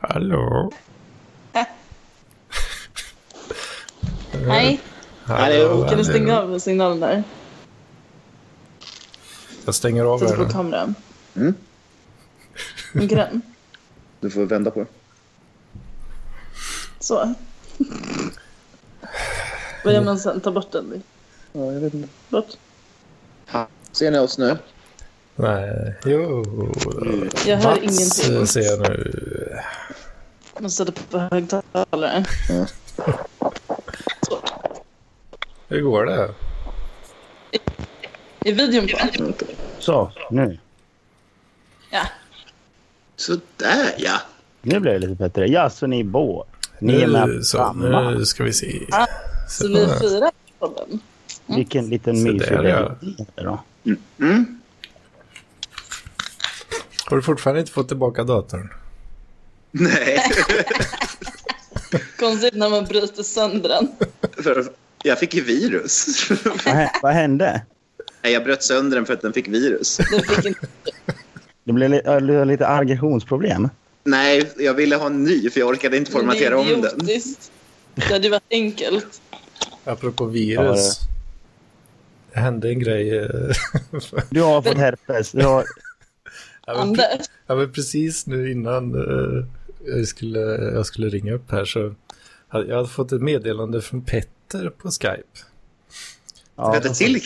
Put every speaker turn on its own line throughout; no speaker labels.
Hallå?
Nej,
Hallå,
Nej, det är-
kan du
hallå.
stänga av signalen där?
Jag stänger av
Sätter
er
på
nu.
kameran.
Mm.
Grön.
Du får vända på det.
Så. Vad gör man sen? Ta bort den.
Ja, jag vet inte.
Bort.
Ha. Ser ni oss nu?
Nej, jo.
Jag hör
Mats eh,
ingenting.
ser jag nu.
Man sätter på högtalare.
Hur går det?
Är videon på?
Så, nu.
Ja.
Sådär ja!
Nu blir det lite bättre. Ja, så ni är bå. Ni är med på
nu, så,
samma.
nu ska vi se.
Ah,
Se
Så
på
vi
det.
är fyra i podden.
Vilken liten
Så
mysig
där, ja.
liten då.
Mm.
Har du fortfarande inte fått tillbaka datorn?
Nej,
Konstigt när man bryter sönder den.
för jag fick ju virus.
Vad hä- Vad hände?
Nej, jag bröt sönder den för att den fick virus.
Den fick inte...
Det blev li- ja, det var lite aggressionsproblem.
Nej, jag ville ha en ny för jag orkade inte formatera om
Det är
den.
idiotiskt. Det hade ju varit enkelt.
Apropå
Ja,
virus.
det-
Det hände en grej. eh,
Du har fått herpes. Du har...
ja, men pre-
Anders.
ja, men precis nu innan eh, jag skulle, jag skulle ringa upp här så hade jag hade fått ett meddelande från Petter på Skype.
Ja,
Vänta till.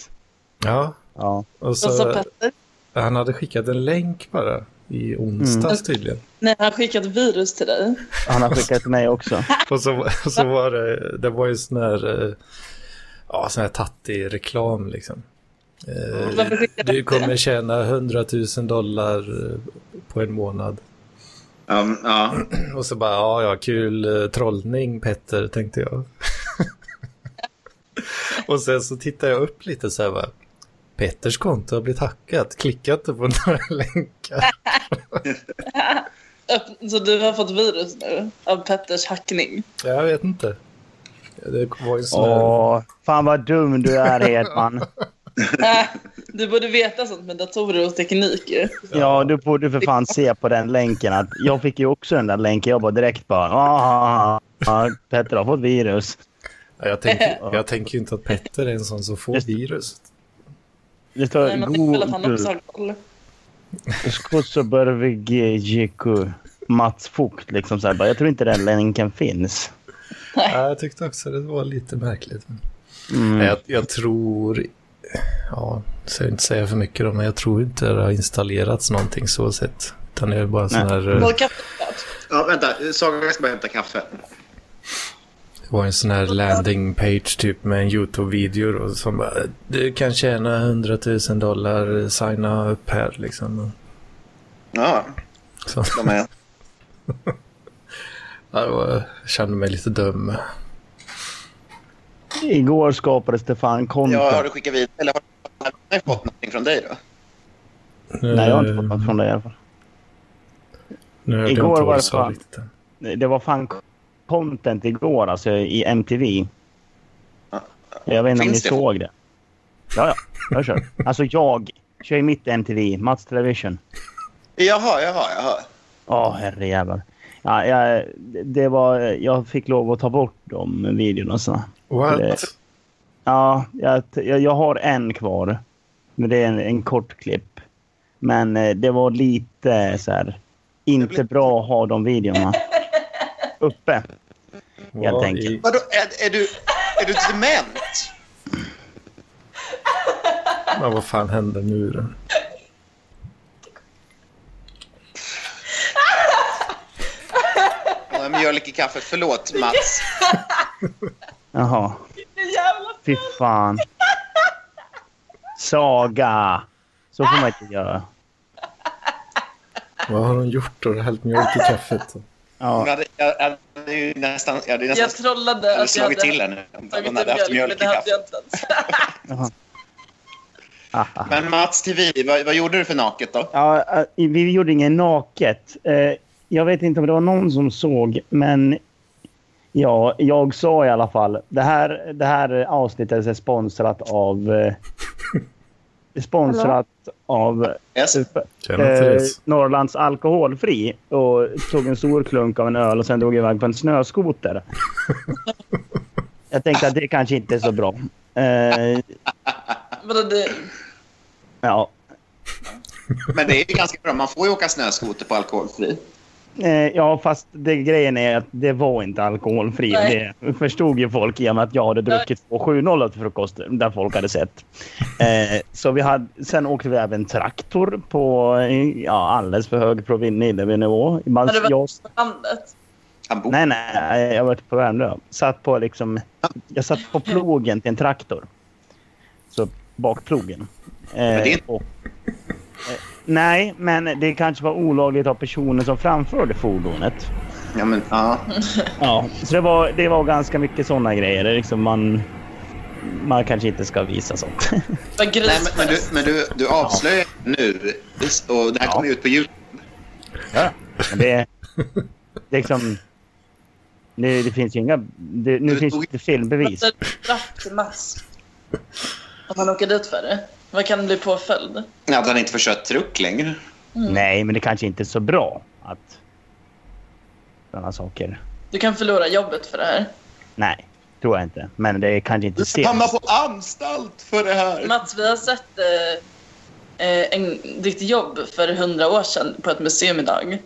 Ja,
ja.
och
Vad sa
så
Petter?
han hade skickat en länk bara i onsdags
Mm.
tydligen.
Nej, han skickat virus till dig.
Han har skickat till mig också.
Och så, och så var det, det var ju sån här, eh, ja sån här tattig reklam liksom. Eh,
Varför
Du
skickade du det?
kommer tjäna 100 000 dollar eh, på en månad.
Ja, ja.
Och så bara, ja, ja, kul eh, trollning Petter, tänkte jag. och sen så tittar jag upp lite så här, va. Petters konto har blivit hackat, klicka inte på några länkar.
Öpp- Så du har fått virus nu av Petters hackning.
Jag vet inte. Det var ju sån här...
Åh, fan vad dum du är Hedman.
Äh, du borde veta sånt med datorer och teknik ju.
Ja, du borde för fan se på den länken. Att jag fick ju också den där länken. Jag bara direkt bara... "Ah, ja, Petter har fått virus.
Ja, Jag tänker, jag tänker ju inte att Petter är en sån som får
Just-
virus.
Det står
Nej, man tänker väl att han också
Google.
har koll.
Skotso Börvig JQ. Mats Fugt liksom så här, bara, Jag tror inte den länken finns.
Ja, jag tyckte också det var lite märkligt. Men...
Mm.
Nej, Jag, jag tror, ja, ska jag inte säga för mycket då, men jag tror inte det har installerats någonting så sett. Utan det är bara sån
Nej.
här, eh,
Håll kaffet klart.
ja vänta. Saga ska bara hämta kaffe.
det var en sån här landing page typ med en YouTube-video då, som bara, du kan tjäna 100 000 dollar, signa upp här liksom.
Ja,
Så,
de är...
ja, det var, jag kände mig lite dum.
Igår skapades det fan content.
Ja, har du skickat vidare? Eller har jag fått någonting från dig då?
Nej, jag har inte fått något från det i alla fall.
Nu hörde jag
Igår
inte vad
var
du
det
sa
fan-
riktigt.
Det var fan content igår alltså i MTV.
Ja.
Jag vet inte om ni
Ah, Finns det?
såg det. Ja, ja. Jag kör. Alltså jag kör ju mitt MTV. Mats Television.
Jaha, jaha, jaha.
Ja, herrejävlar. Ja, jag, det var, jag fick lov att ta bort de videorna. Så.
What?
Det- Ja, jag, jag, jag har en kvar. Men det är en, en kort klipp. Men eh, det var lite så här... Inte bra att ha de videorna uppe. helt
Vad
enkelt.
i-
Vadå, är, är du... Är du dement?
Men vad fan hände nu då?
Ja, mjölk i kaffe. Förlåt, Mats.
Jaha,
Jävla...
fy fan. Saga! Så får man inte göra.
Vad har hon gjort då? Hällt mjölk i kaffet?
Jag
Ja,
hade, jag hade ju nästan... Jag hade ju
Jag
nästan
trollade att jag
slagit
hade
till henne om
tagit
hon
ut
hade haft
mjölk, men
mjölk i
det hade
kaffe.
jag inte ens.
haha.
Men Mats TV, vad, vad gjorde du för naket då?
Ja, eh, vi gjorde inget naket. Eh, Jag vet inte om det var någon som såg, men ja, jag sa i alla fall. Det här, det här avsnittet är sponsrat av eh, sponsrat av
Yes.
Tjena
eh,
Therese.
Norrlands Alkoholfri och tog en stor klunk av en öl och sen drog iväg på en snöskoter. Jag tänkte att det kanske inte är så bra. Eh,
Vadå, det...
ja.
Men det är ju ganska bra. Man får ju åka snöskoter på alkoholfri.
Eh, ja, fast det, grejen är att det var inte alkoholfri.
Nej.
Det förstod ju folk i och med att jag hade druckit 2.70 till frukost där folk hade sett. Eh, så vi hade, sen åkte vi även traktor på eh, ja, alldeles för hög provinnivå. Man,
Ja, det var-
jag,
Landet.
Han bor...
nej, nej, jag var ute på Värmdö. Satt på liksom, jag satt på plogen till en traktor. Så bakplogen. Eh,
Men det är-
och, eh, nej, men det kanske var olagligt av personen som framförde fordonet.
Ja, men, ja.
Ja, så det var, det var ganska mycket såna grejer. Det är Liksom man, man kanske inte ska visa sånt.
Det var
Nej, men, men, du,
grisfest.
men du, du avslöjar nu. Och det här
Ja.
kommer ju ut på Youtube.
Men det, det är liksom, det, det finns ju inga... Det, nu
Du
finns
tog-
det filmbevis.
Det är straff till mask. Om man åker dit för det. Vad kan det bli påföljd?
Att han inte får köra truck längre.
Nej, men det kanske inte är så bra att... Sådana saker.
Du kan förlora jobbet för det här.
Nej, tror jag inte. Men det är kanske inte
Du
ser.
hamnar på anstalt för det här.
Mats, vi har sett eh, eh, en, ditt jobb för hundra år sedan på ett museum idag.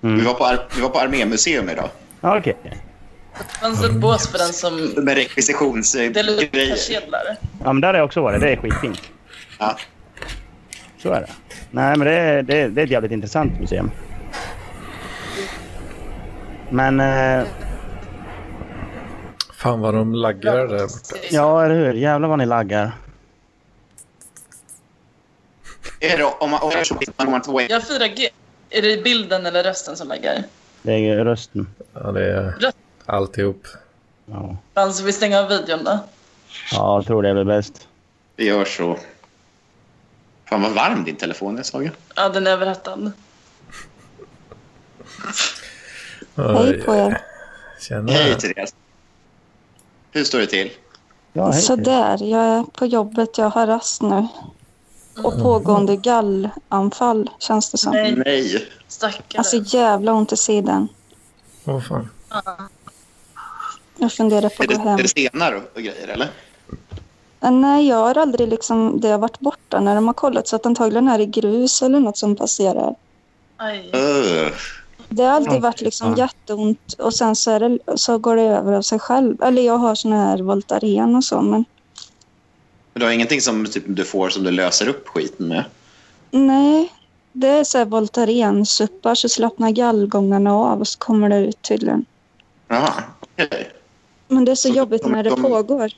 Vi var på, ar- vi var på Armémuseum idag.
Ja, Okej.
Det fanns ett bås för den som
Med
delar
rekvisitionsgrejer.
kedlar.
Ja, men där har jag också varit. Det är skitfint.
Ja.
Så är det. Nej, men det är, det är, det är ett jävligt intressant museum. Men... Eh,
Fan vad de laggar där borta.
Ja, eller hur? Jävlar vad ni laggar.
Är det, om man orkar så blir man- om man två
Jag har 4G. Är det bilden eller rösten som lägger?
Det är ju rösten.
Ja, det är alltihop.
Ja.
Fan, ska vi stänga av videon då?
ja, jag tror det är väl bäst.
Vi gör så. Fan vad varm din telefon är Saga.
Ja, den är överhettad.
Hej på er.
Tjena.
Hej Therese. Hur står det till?
Ja, hej.
Sådär, jag är på jobbet. Jag har rast nu. Och pågående gallanfall känns det som.
Nej,
Nej.
stackare.
Alltså jävla ont i sidan.
Åh fan.
Jag funderar på
Är
att
det,
gå hem.
är det stenar och, och grejer eller?
Äh, Nej, jag har aldrig liksom, det har varit borta när de har kollat så att antagligen är det grus eller något som passerar.
Aj.
Öh.
Det har alltid varit liksom
Ja.
jätteont och sen så, är det, så går det över av sig själv. Eller jag har sån här Voltaren och så men
Men du har ingenting som typ, du får som du löser upp skiten med?
nej. Det är så här Voltaren-suppar så slappnar gallgångarna av och så kommer det ut tydligen.
Jaha, okej.
Men det är så
Så
jobbigt
de-
när det
de-
pågår.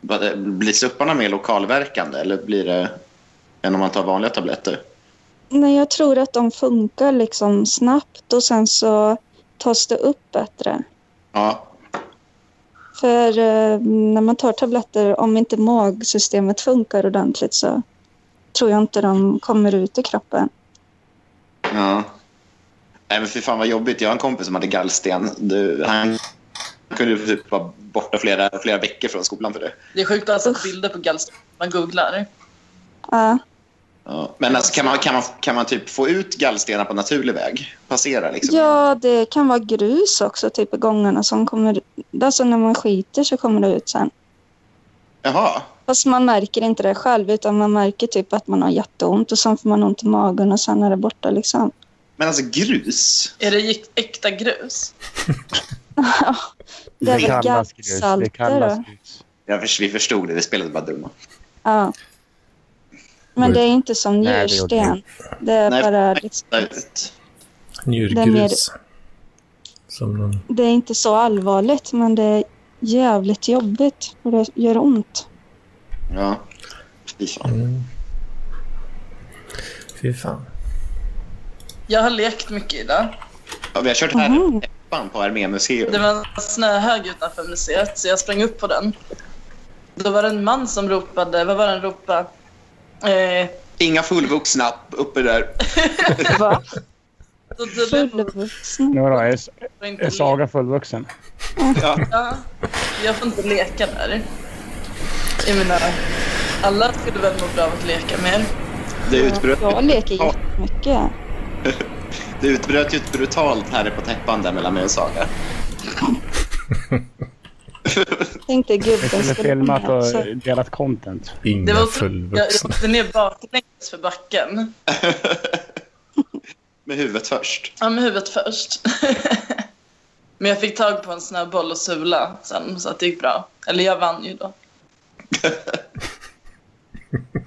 Vad det- eh, Blir supparna mer lokalverkande eller blir det än om man tar vanliga tabletter?
Nej, jag tror att de funkar liksom snabbt och sen så tas det upp bättre.
Ja.
För eh, när man tar tabletter, om inte magsystemet funkar ordentligt så tror jag inte de kommer ut i kroppen.
ja. Nej men fy fan vad jobbigt. Jag har en kompis som hade gallsten. Du, han kunde ju typ vara borta flera, flera veckor från skolan för det.
Det är sjukt alltså
Usch.
bilder på gallsten. Man googlar.
Ja,
Ja. Men alltså, kan, man, kan, man, kan man typ få ut gallstenar på naturlig väg? Passera liksom?
ja, det kan vara grus också, typ i gångarna som kommer... Alltså när man skiter så kommer det ut sen.
Jaha.
Fast man märker inte det själv utan man märker typ att man har jätteont och sen får man ont i magen och sen är det borta liksom.
Men alltså grus?
Är det gick- äkta grus?
Det är väl gallsalter då.
grus.
Jag förs- vi förstod det. Vi spelade bara dumma.
Ja. Men
Oj.
det är inte som
Nej, det gjorde
njursten. Det är
Nej.
bara liksom,
Ut.
Njurgrus. Som de...
det är inte så allvarligt men det är jävligt jobbigt och det gör ont.
Ja. Fy fan.
Mm. Fy fan.
Jag har lekt mycket idag.
Ja, vi har kört här
Mhm.
Fan på Armémuseum.
Det var en snöhög utanför museet, så jag sprang upp på den. Då var det en man som ropade... Vad var det han ropade? Eh,
Inga fullvuxna uppe där.
Va?
då tydligen
Fullvuxen.
Nu då, är,
får jag
är
inte
Saga fullvuxen?
Ja.
leka. Jag får inte leka där. I mina Alla skulle väl må bra av att leka mer.
Det utbröt,
Jag leker jättemycket.
det utbröt ju ett brutalt Harry på täppan där mellan mig och Saga.
Tänkte gubben
Eller
skulle alltså- vara
filmat
med också.
och delat content.
Det
Inga
var jag, jag
fullvuxna.
åkte ner baklänges för backen.
Med huvudet först.
Ja, med huvudet först. Men jag fick tag på en snöboll och sula sen, så att det gick bra. Eller jag vann ju då.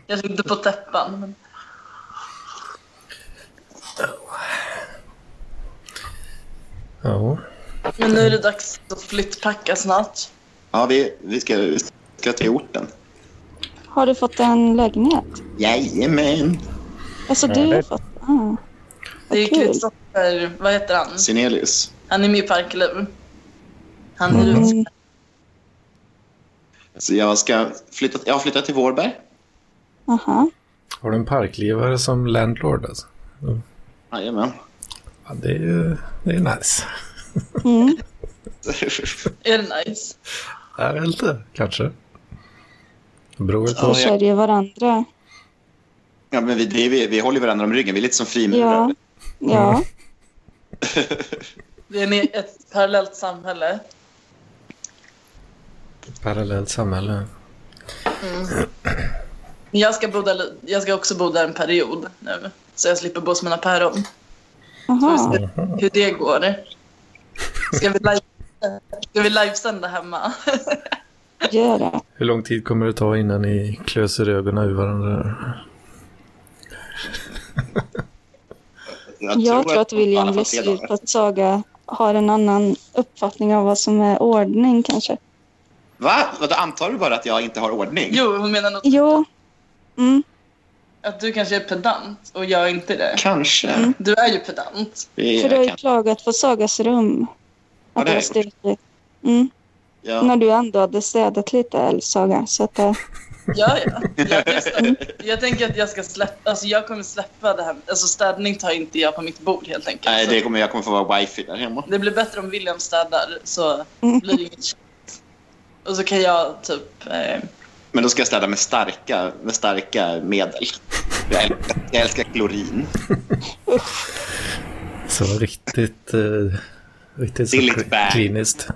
jag såg inte på täppan. Men...
Ja.
men nu är det dags att flyttpacka snart.
Ja, vi, vi, ska, vi ska till orten.
Har du fått en lägenhet?
Jajamän!
Alltså
Ja,
du har
det-
fått... Ah,
Det är
Vad kul.
Kristoffer, vad heter han?
Synelius.
Han är med i Parkeliv. Han är ju
Mm.
Så jag, ska flytta, jag har flyttat till Vårberg.
aha.
Har du en parklivare som landlord alltså?
Jajamän.
Ja, det är ju det är nice.
Mm.
Är det nice?
Är det inte? Kanske. Det beror väl på.
Vi
jag-
försörjer varandra.
Ja, men vi, det är, vi, vi håller varandra om ryggen. Vi är lite som frimurare.
Ja. Ja.
Vi är med i ett parallellt samhälle.
Parallellt samhälle.
Men Jag ska, bo där, jag ska också bo där en period nu. Så jag slipper bo hos mina päron.
Aha.
Hur det går. Ska vi, live, ska vi livesända hemma?
Gör det.
Hur lång tid kommer det ta innan ni klöser ögonen ur varandra?
Jag tror att William blir sur på att Saga har en annan uppfattning av vad som är ordning kanske.
Va? Vadå, antar du bara att jag inte har ordning?
Jo, hon menar nog
Jo. Mm.
att du kanske är pedant och jag är inte det.
Kanske.
Du är ju pedant.
Det
Mm. För du har ju
är,
klagat på Sagas rum.
Ja,
Att
det
det
har
var
jag
stökigt. Mm. När
ja,
du ändå hade städat lite, eller Saga. Så att, eh,
Ja, ja. Jag, jag, jag tänker att jag ska släppa, alltså jag kommer släppa det här. Alltså städning tar inte jag på mitt bord helt enkelt.
nej,
Så
det kommer, jag kommer få vara wifi där hemma.
det blir bättre om William städar så
Mm.
blir det inget tjat. Och så kan jag typ... Eh,
Men då ska jag städa med starka, med starka medel. Jag älskar, jag älskar klorin.
Så riktigt, eh, riktigt så
Det är lite bad.
kliniskt.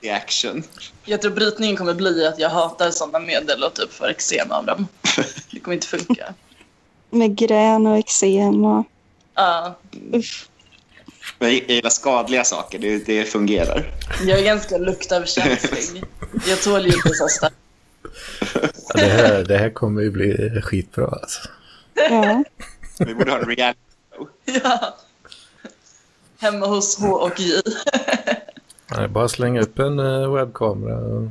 I action.
jag tror brytningen kommer bli att jag hatar sådana medel och typ får eksem av dem. Det kommer inte funka.
med grän och eksem och...
Ja,
Usch.
Men jag gillar skadliga saker. Det, det fungerar.
jag är ganska luktöverkänslig. Jag tål ju inte så starkt.
Ja, det, här, det här kommer ju bli skitbra alltså.
Ja.
Vi borde ha en reality.
Ja. Hemma hos H och J.
Ja, det är bara slänga upp en eh, webbkamera och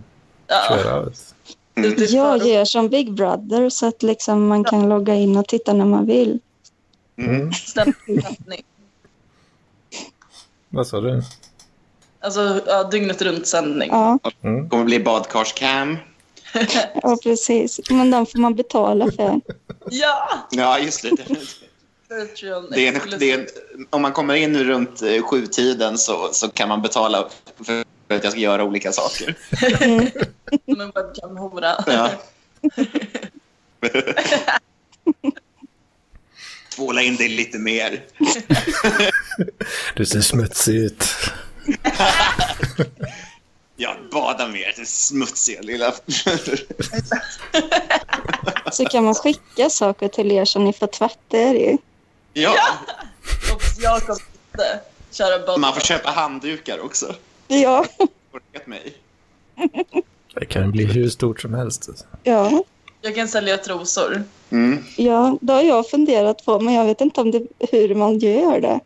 Ja.
köra. vet du.
Ute i
Jag
förort.
gör som Big Brother så att liksom man kan logga in och titta när man vill.
Mm.
Ständig sändning.
Vad sa du?
Alltså ja, dygnet runt sändning.
Ja,
Mm.
Det kommer bli badkarscam.
ja, precis. Men den får man betala för.
Ja!
Ja, just det. definitivt.
Patreon.
Det är en, det är en, om man kommer in runt eh, sjutiden så, så kan man betala för att jag ska göra olika saker.
Som en webcam-hora.
Ja. Tvåla in dig lite mer.
Du ser smutsig ut.
Ja, bada mer. Det smutsiga lilla...
Så kan man skicka saker till er som ni får tvätta er i.
ja,
Och jag kommer inte köra bort.
man får köpa handdukar också.
Ja,
Orkat mig.
Det kan bli hur stort som helst. alltså.
ja,
Jag kan sälja trosor.
Mm.
ja, det har jag funderat på men jag vet inte om det, hur man gör det.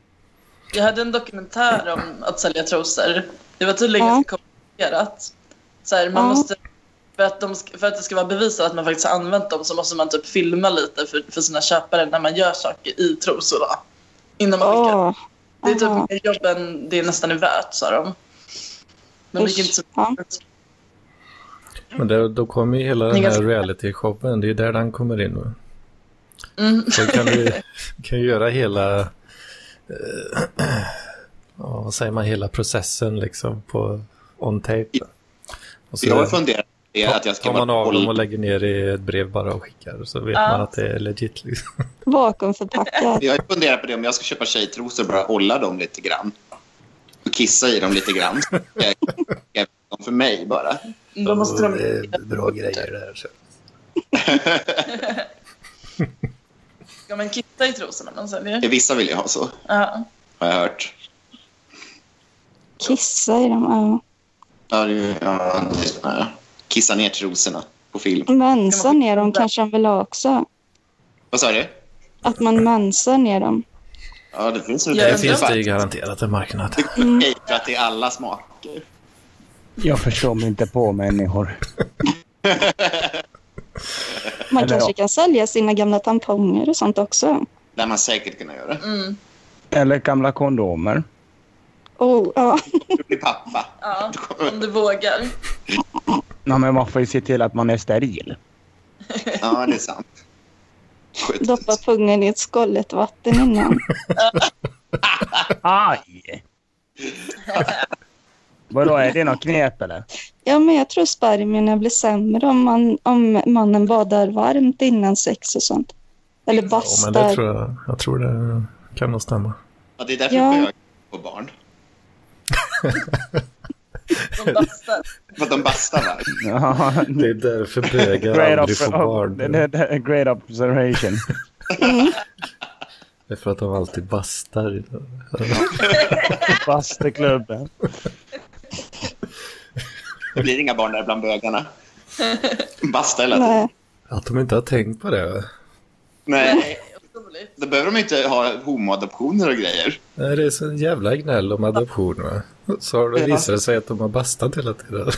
Jag hade en dokumentär om att sälja trosor. Det var tydligen
Ja.
ganska komplicerat. Så här, man
Ja.
måste, för, att de, ska- för att det ska vara bevisat att man faktiskt har använt dem så måste man typ filma lite för, för sina köpare när man gör saker i trosorna. Innan man skickar.
Åh,
Det är
Ah, aha.
typ mer jobb än det nästan är värt, sa de. Men det gick inte så
Ja.
Men där, då kommer ju hela den här
ganska-
reality-showen. Det är där den kommer in. va?
Mm.
Så kan du kan ju göra hela... eh, ja, vad säger man? Hela processen liksom på on tape. Och så,
Jag har funderat Det är att jag ska
Tar man
vara
av
boll-
dem och lägger ner i ett brev bara och skickar så vet
Ja.
man att det är legit. Liksom.
Vakuumförpackad.
Jag funderar på det om jag ska köpa tjejtrosor och bara olla dem lite grann. Och kissa i dem lite grann. Jag- jag- de för mig bara.
Då måste
Och det
de...
är bra grejer där. Så.
Ja, men kitta i trosorna man säljer.
Eh, Vissa vill ju ha så,
Ja.
har jag hört.
Kissa i dem. Ja.
Ja, det, är ju- ja, det, ja. Kissa ner trosorna på film.
Mönsa ner dem kanske de vill ha också.
Vad sa du?
Att man mensar ner dem.
Ja, det finns
Ja,
Det
men
finns
det.
det ju garanterat en marknad.
Okej, för att det är alla smaker.
Jag förstår mig inte på människor.
Man
Eller
kanske
ja.
kan sälja sina gamla tamponger och sånt också.
Det har man säkert kunnat göra.
Mm.
Eller gamla kondomer.
Oh, ja.
Du blir pappa.
ja, om du vågar.
Ja, men man får ju se till att man är steril.
Ja, det är sant. Skjut.
Doppa pungen i ett skållet vatten innan.
Aj! Vadå, är det något knep eller?
Ja, men jag tror spermierna blir sämre om, man, om mannen badar varmt innan sex och sånt. Eller
Ja, men det
bastar.
tror jag, jag tror det kan nog stämma.
Ja, det är därför
Ja.
bögar får barn.
De bastar.
För att de bastar varmt.
Ja.
Det är därför bögar aldrig får
Oh,
barn.
det- det- great observation.
Det är för att de alltid bastar.
Bastuklubben.
Det blir inga barn där bland bögarna. Basta hela tiden.
Nej.
Att de inte har tänkt på det.
Nej.
Otroligt.
Då behöver de inte ha homoadoptioner och grejer.
Nej, det är sån jävla gnäll om adoption. Va? Så har det
Ja.
visat det sig att de har bastat hela tiden.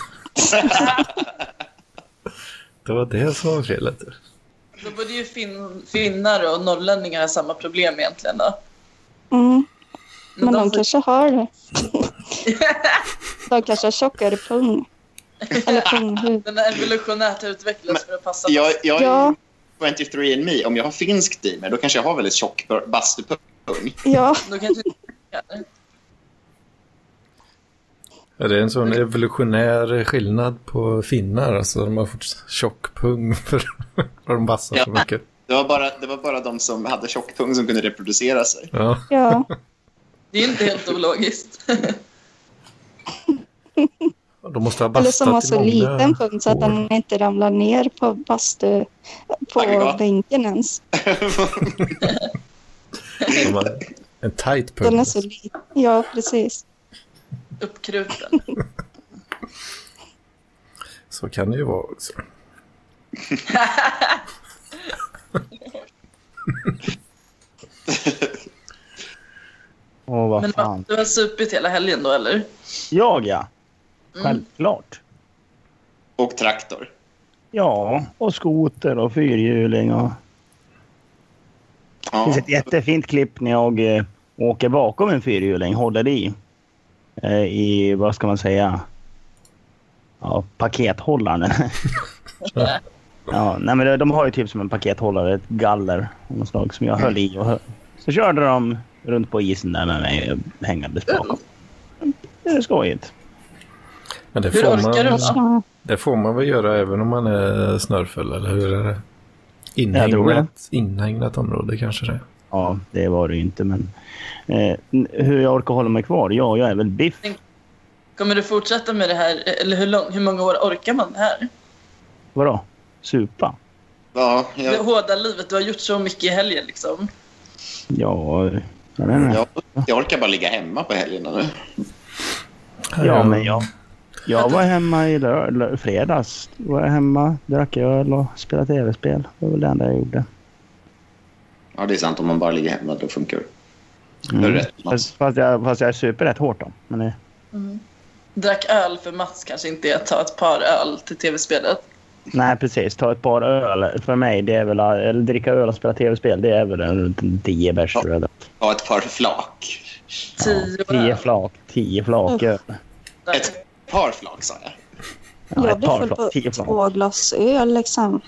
Det var det som var felet.
Då borde ju fin- finnar och norrlänningar ha samma problem egentligen. Då.
Mm.
Men
Men
de
de
får-
kanske har det. De kanske har tjockare pung. Eller punghud.
Den har evolutionärt utvecklats för att passa.
Jag, jag
Ja.
är 23 and me. Om jag har finskt i mig, då kanske jag har väldigt tjock bör- bastupung.
Ja,
Då kanske
Ja, det är en sån evolutionär skillnad på finnar. Alltså, de har fått tjock pung för för de bastar så
Ja.
mycket.
Det var, bara, det var bara de som hade tjock pung som kunde reproducera sig.
Ja.
ja.
det är inte helt ologiskt.
De måste ha
Eller som har
bastat i
så
många
liten pung så att den inte ramlar ner på bastu... På
Aggregat.
bänken ens.
De har En tight pung.
Den är så liten. Ja, precis.
Uppkruten.
Så kan det ju vara också.
Åh, vad
Men
fan.
du har supit hela helgen då, eller?
Jag ja.
Mm.
Självklart.
Och traktor.
Ja, och skoter och fyrhjuling och... Det
Ja.
finns ett jättefint klipp när jag eh, åker bakom en fyrhjuling, håller i. Eh, I, vad ska man säga? Ja, pakethållaren. ja, nej, men de- de har ju typ som en pakethållare, ett galler av något slag som jag höll i. Och hö- så körde de runt på isen där med mig eh, hängandes bakom. Det är skojigt.
Men det
Hur
får,
orkar du
man,
då?
Ja.
det får man väl göra även om man är snörfull, eller hur är det? Inhägnat, inhägnat område kanske det är.
Ja,
Mm.
det var det ju inte, men... Eh, n- hur jag orkar hålla mig kvar? Ja, jag är väl biff.
Kommer du fortsätta med det här? Eller hur, lång, hur många år orkar man det här?
Vadå? Supa?
Ja,
Det
jag,
hårda livet, du har gjort så mycket i helgen liksom.
Ja, jag vet inte.
jag, jag orkar bara ligga hemma på helgerna nu.
Ja, men jag, jag var hemma i lör, lör, fredags. Då var jag hemma, drack öl och spelade tv-spel. Det var väl det enda jag gjorde.
Ja, det är sant. Om man bara ligger hemma, då funkar det.
Mm.
Då är det rätt.
Fast, fast, jag, fast jag super rätt hårt då. Men det,
Drack öl för Mats kanske inte är att ta ett par öl till tv-spelet.
nej, precis. Ta ett par öl. För mig, det är väl... Eller dricka öl och spela tv-spel, det är väl runt en tio bärs tror jag.
Ha ett par flak.
Tio
Tio
öl.
flak. Tio flak öl.
Ett par flak, sa jag.
Ja,
Jag
ett
blir
par
full på
flak. Tio flak.
två glas öl liksom.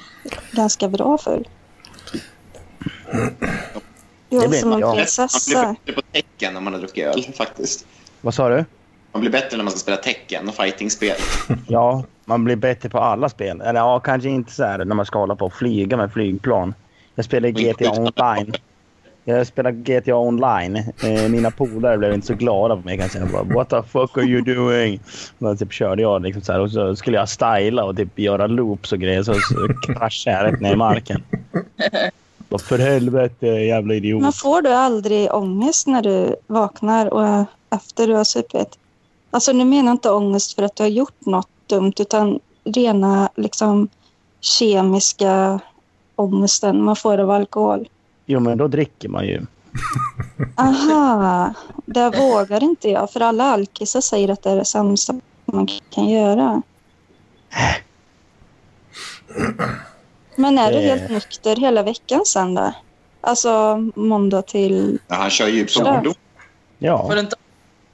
Ganska bra full. Jag
Det
är
blir
som en
bra.
Man blir
prinsessa.
bättre på tecken när man har druckit öl, faktiskt.
Vad sa du?
Man blir bättre när man ska spela tecken och fightingspel.
Ja, man blir bättre på alla spel. Eller ja, kanske inte så här när man ska hålla på och flyga med flygplan. Jag spelar GTA online. Jag spelar GTA online. Eh, Mina polare blev inte så glada på mig kanske. Jag bara, What the fuck are you doing? Men typ körde jag liksom så här, och så skulle jag styla och typ göra loops och grejer. Så, så kraschade jag rätt ner i marken. Bara, för helvete jävla idiot.
Men får du aldrig ångest när du vaknar och är- efter du har supit? Alltså nu menar jag inte ångest för att du har gjort något dumt utan rena liksom kemiska ångesten man får av alkohol.
Jo men då dricker man ju.
Aha, det vågar inte jag för alla alkisar säger att det är det sämsta man kan göra. Men är du
Eh.
helt nykter hela veckan sen då? Alltså måndag till...
Ja, han kör ju
Kör.
solo.
Ja,
Var det inte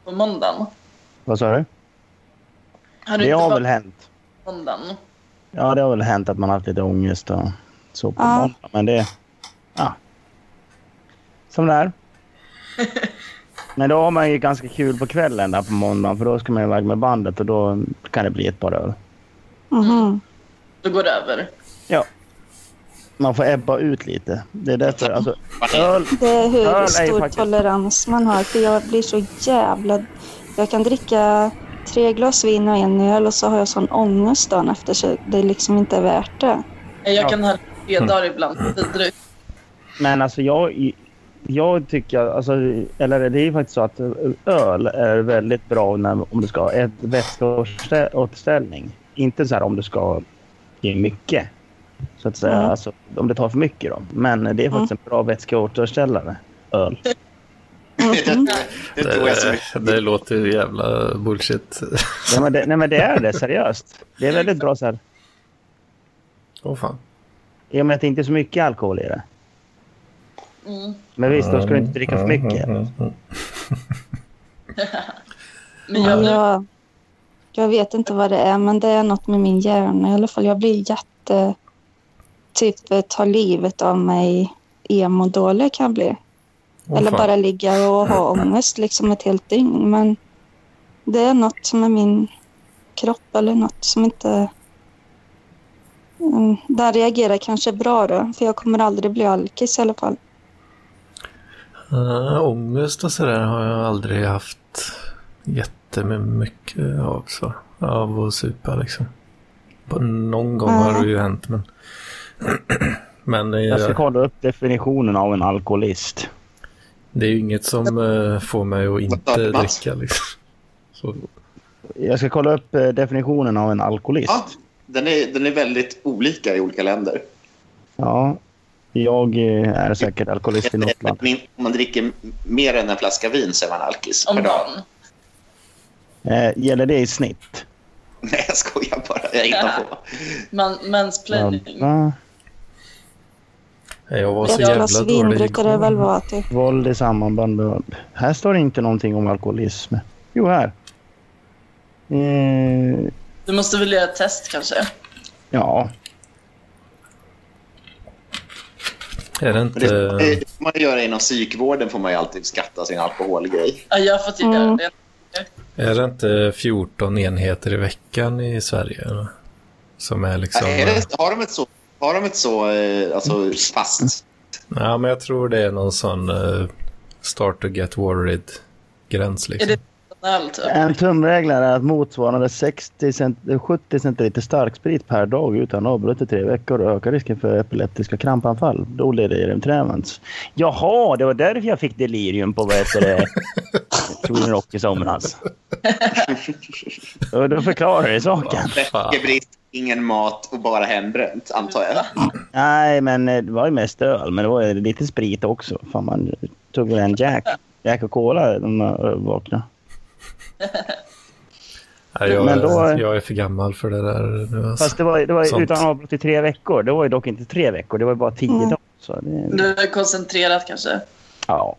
på måndagen?
vad sa du?
Har du
Det
inte
har
varit
väl hänt.
på måndagen?
Ja, det har väl hänt att man haft lite ångest och så på
Ja.
måndag. Men det... Ja. Som det är. Men då har man ju ganska kul på kvällen där på måndagen för då ska man iväg med bandet och då kan det bli ett par öl.
Mhm.
Då går det över.
Man får ebba ut lite. Det är därför... Alltså, öl...
Det är hur
Ja, nej,
stor
faktiskt.
tolerans man har. För jag blir så jävla... Jag kan dricka tre glas vin och en öl och så har jag sån ångest dagen efter så det liksom inte är värt det.
Eh, Jag
Ja.
kan ha tre dagar ibland. Vidrigt.
Men alltså jag... Jag tycker... Alltså, eller det är ju faktiskt så att öl är väldigt bra när, om du ska ha ett vätskeåterställning. Inte så här om du ska i mycket. Så att säga.
Mm.
Alltså, om det tar för mycket då. Men det är
Mm.
faktiskt en bra vätskeåterställare. Öl.
Mhm.
Det tror jag så mycket.
Det, det låter ju jävla bullshit.
Nej men, det, nej men det är det, seriöst. Det är väldigt bra så här.
Åh fan.
I och med att det inte är så mycket alkohol i det.
Mm.
Men visst, då ska du inte dricka för mycket.
Mm, mm, mm.
Men
Men
jag,
jag, jag vet inte vad det är, men det är något med min hjärna i alla fall. Jag blir jätte... Typ eh, tar livet av mig. Emo-dålig kan jag bli.
Åh,
Eller
fan.
bara ligga och ha
Mm.
ångest liksom ett helt dygn. Men det är något som är min kropp eller något som inte... Mm, Där reagerar kanske bra då, för jag kommer aldrig bli alkis i alla fall.
Eh, ångest och sådär har jag aldrig haft jättemycket av. Så. Av att supa liksom. På- Någon gång har det ju hänt men... men eh,
Jag ska kolla upp definitionen av en alkoholist.
det är ju inget som eh, får mig att inte
Mats?
dricka liksom. Så,
Jag ska kolla upp eh, definitionen av en alkoholist.
Ja, den är, den är väldigt olika i olika länder.
Ja, jag eh, är säkert alkoholist i något land.
Min- Om man dricker mer än en flaska vin så är man alkis
om
per dag.
dagen.
Eh, gäller det i snitt?
Nej, jag skojar bara. Jag hittar på.
Man, mansplaining.
Vabba.
jag var så
Ett glas
jävla
vin
dålig
brukar det väl
igår.
vara typ.
Våld i sammanband med våld. Här står det inte någonting om alkoholism. Jo, här. Eh,
Du måste väl göra ett test kanske?
ja,
Är det
Men det,
inte...
det får man göra inom psykvården får man ju alltid skatta sin alkoholgrej.
Ja, jag har fått göra
Mm.
det.
Är det inte 14 enheter i veckan i Sverige? Eller? Som är liksom...
Är det, har de ett så, har de ett så eh, alltså, fast...
Ja, men jag tror det är någon sån eh, start to get worried-gräns liksom.
Är det en öl typ?
En tumregel är att motsvarande 60 cent 70 centiliter starksprit per dag utan avbrott i tre veckor ökar risken för epileptiska krampanfall. Då delirium tremens. Jaha, det var därför jag fick delirium på vad heter det? Sweden Rock i somras. Och då förklarar det saken.
Fan.
Vätskebrist, ingen mat och bara hembränt, antar jag.
Nej, men eh, det var ju mest öl, men det var ju lite sprit också. Fan, man tog väl en Jack, Jack och Cola när man eh, vaknade.
Nej, jag,
Men då-
jag är för gammal för det där nu. Alltså.
Fast det var, det var ju
Sånt.
utan avbrott i tre veckor. Det var ju dock inte tre veckor, det var ju bara tio
Mm.
dagar. Så det,
Du är koncentrerat kanske?
Ja.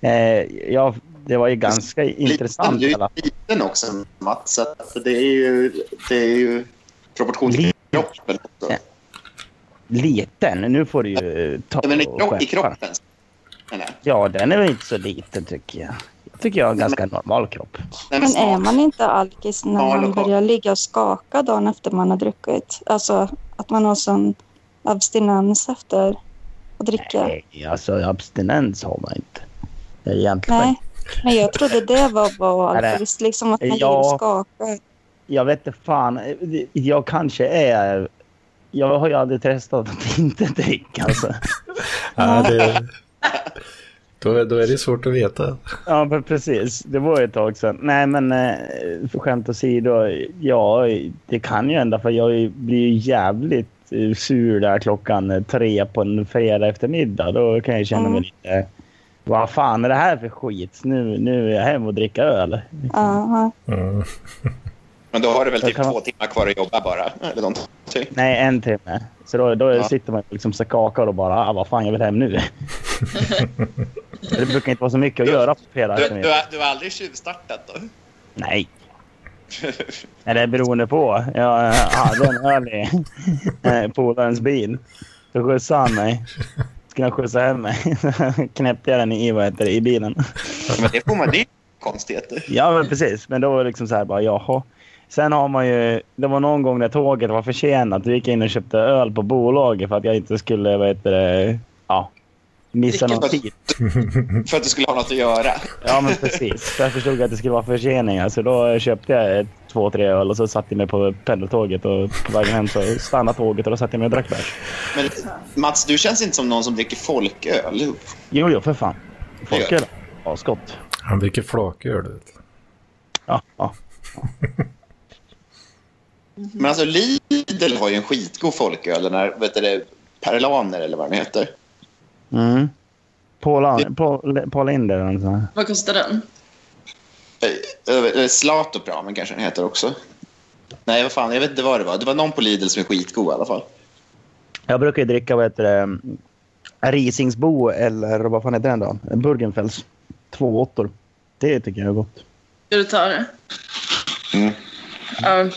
Eh, ja, det var ju ganska intressant.
Du är
i
ju
alla fall.
liten också, Mats. Så att det är ju, det är ju proportion till kroppen. Också.
Liten. Nu får du ju eh, ta
Ja, men i,
och
kro-
skärpa.
i kroppen. menar jag.
Ja, den är väl inte så liten tycker jag. tycker jag är en ganska normal kropp.
Nej,
Men är
smak.
man inte alkis när
Smal
man
och kort.
börjar ligga och skaka dagen efter man har druckit? Alltså att man har sån abstinens efter att dricka? Nej,
Nej, alltså abstinens har man inte. Det är egentligen.
men jag trodde det var vad
Nej, det-
alkis, liksom att man ligger
Ja.
och skakar.
Jag vet inte fan. Jag kanske är... Jag har ju aldrig testat att inte dricka. Alltså.
Ja, det, då, är- då är det svårt att veta.
Ja, men precis. Det var ju ett tag sedan. Nej, men eh, för skämt åsido. Ja, det kan ju hända för jag blir ju jävligt eh, sur där klockan eh, tre på en fredag eftermiddag. Då kan jag känna mig
Mm.
lite... Vad fan är det här för skit? Nu, nu är jag hem och dricka öl.
Jaha.
Mm.
Men då har du väl typ
Jag kan-
två timmar kvar att jobba bara? Eller någonting.
Nej, en timme. Så då, då
Ja.
sitter man liksom så kakar och bara ah, vad fan jag vill hem nu. det brukar inte vara så mycket att göra på fredag
Du, du,
eftermiddag.
har- du har aldrig tjuvstartat då?
Nej. Eller beroende på. Jag eh, hade en öl i eh, polarens bil. Då skjutsade han mig. Skulle han skjutsa hem mig. Knäppte jag den i, vad heter det, i bilen.
Men det får man, det är konstigheter.
Ja, men precis. Men då var det liksom så här bara, jaha. Sen har man ju... Det var någon gång när tåget var försenat. Då gick jag in och köpte öl på bolaget för att jag inte skulle, vad heter det, ja, missa
Vilket
någon
var-
tid.
För att du skulle ha något att göra.
Ja, men precis. Så jag förstod att det skulle vara förseningar. Så då köpte jag ett, två, tre öl och så satte jag mig på pendeltåget och på vägen hem så stannade tåget och då satte jag mig och drack bärs.
Men Mats, du känns inte som någon som dricker folköl.
Jo, jo, för fan.
Det
Folköl. Ja, skott.
Han dricker flaköl. vet du.
Ja, ja.
Men alltså Lidl har ju en skitgod folköl. Den här, vet du det, Perlaner eller vad den heter.
Mm. Paul, An- Paul, Paul Linder eller nåt sånt här.
Vad kostar den?
Eh, eh, Eller Zlatopramen kanske den heter också. Nej, vad fan, jag vet inte vad det var. Det var någon på Lidl som är skitgod i alla fall.
Jag brukar ju dricka vad heter det, Risingsbo eller vad fan heter den då? Burgenfels. Två åttor. Det tycker jag är gott.
Ska du ta det?
Mm.
Ja.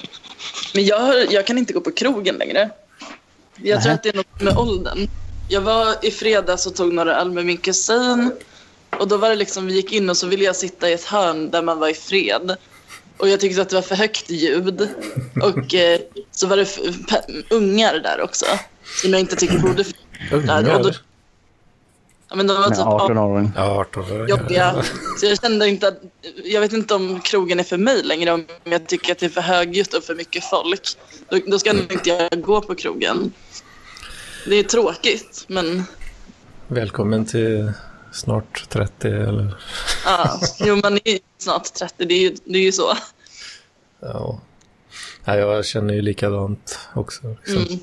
Men jag, har- jag kan inte gå på krogen längre. Jag tror
Nähä.
att det är något med åldern. Jag var i fredags och tog några öl med min kusin. Och då var det liksom, vi gick in och så ville jag sitta i ett hörn där man var i fred. Och jag tyckte att det var för högt ljud. Och eh, så var det f- pe- ungar där också. Som jag inte tycker borde finnas där. Och då,
Ungar?
ja, men de var
Med
typ
18 åring.
Ja, 18-åringar.
jobbiga. Så jag kände inte att, jag vet inte om krogen är för mig längre om jag tycker att det är för högljutt och för mycket folk. Då, då ska nog inte jag gå på krogen. Det är tråkigt, men
Välkommen till snart 30 eller...
ja. Jo, man är ju snart 30, det är ju, det är ju så.
Ja. ja, jag känner ju likadant också. Liksom.
Mm.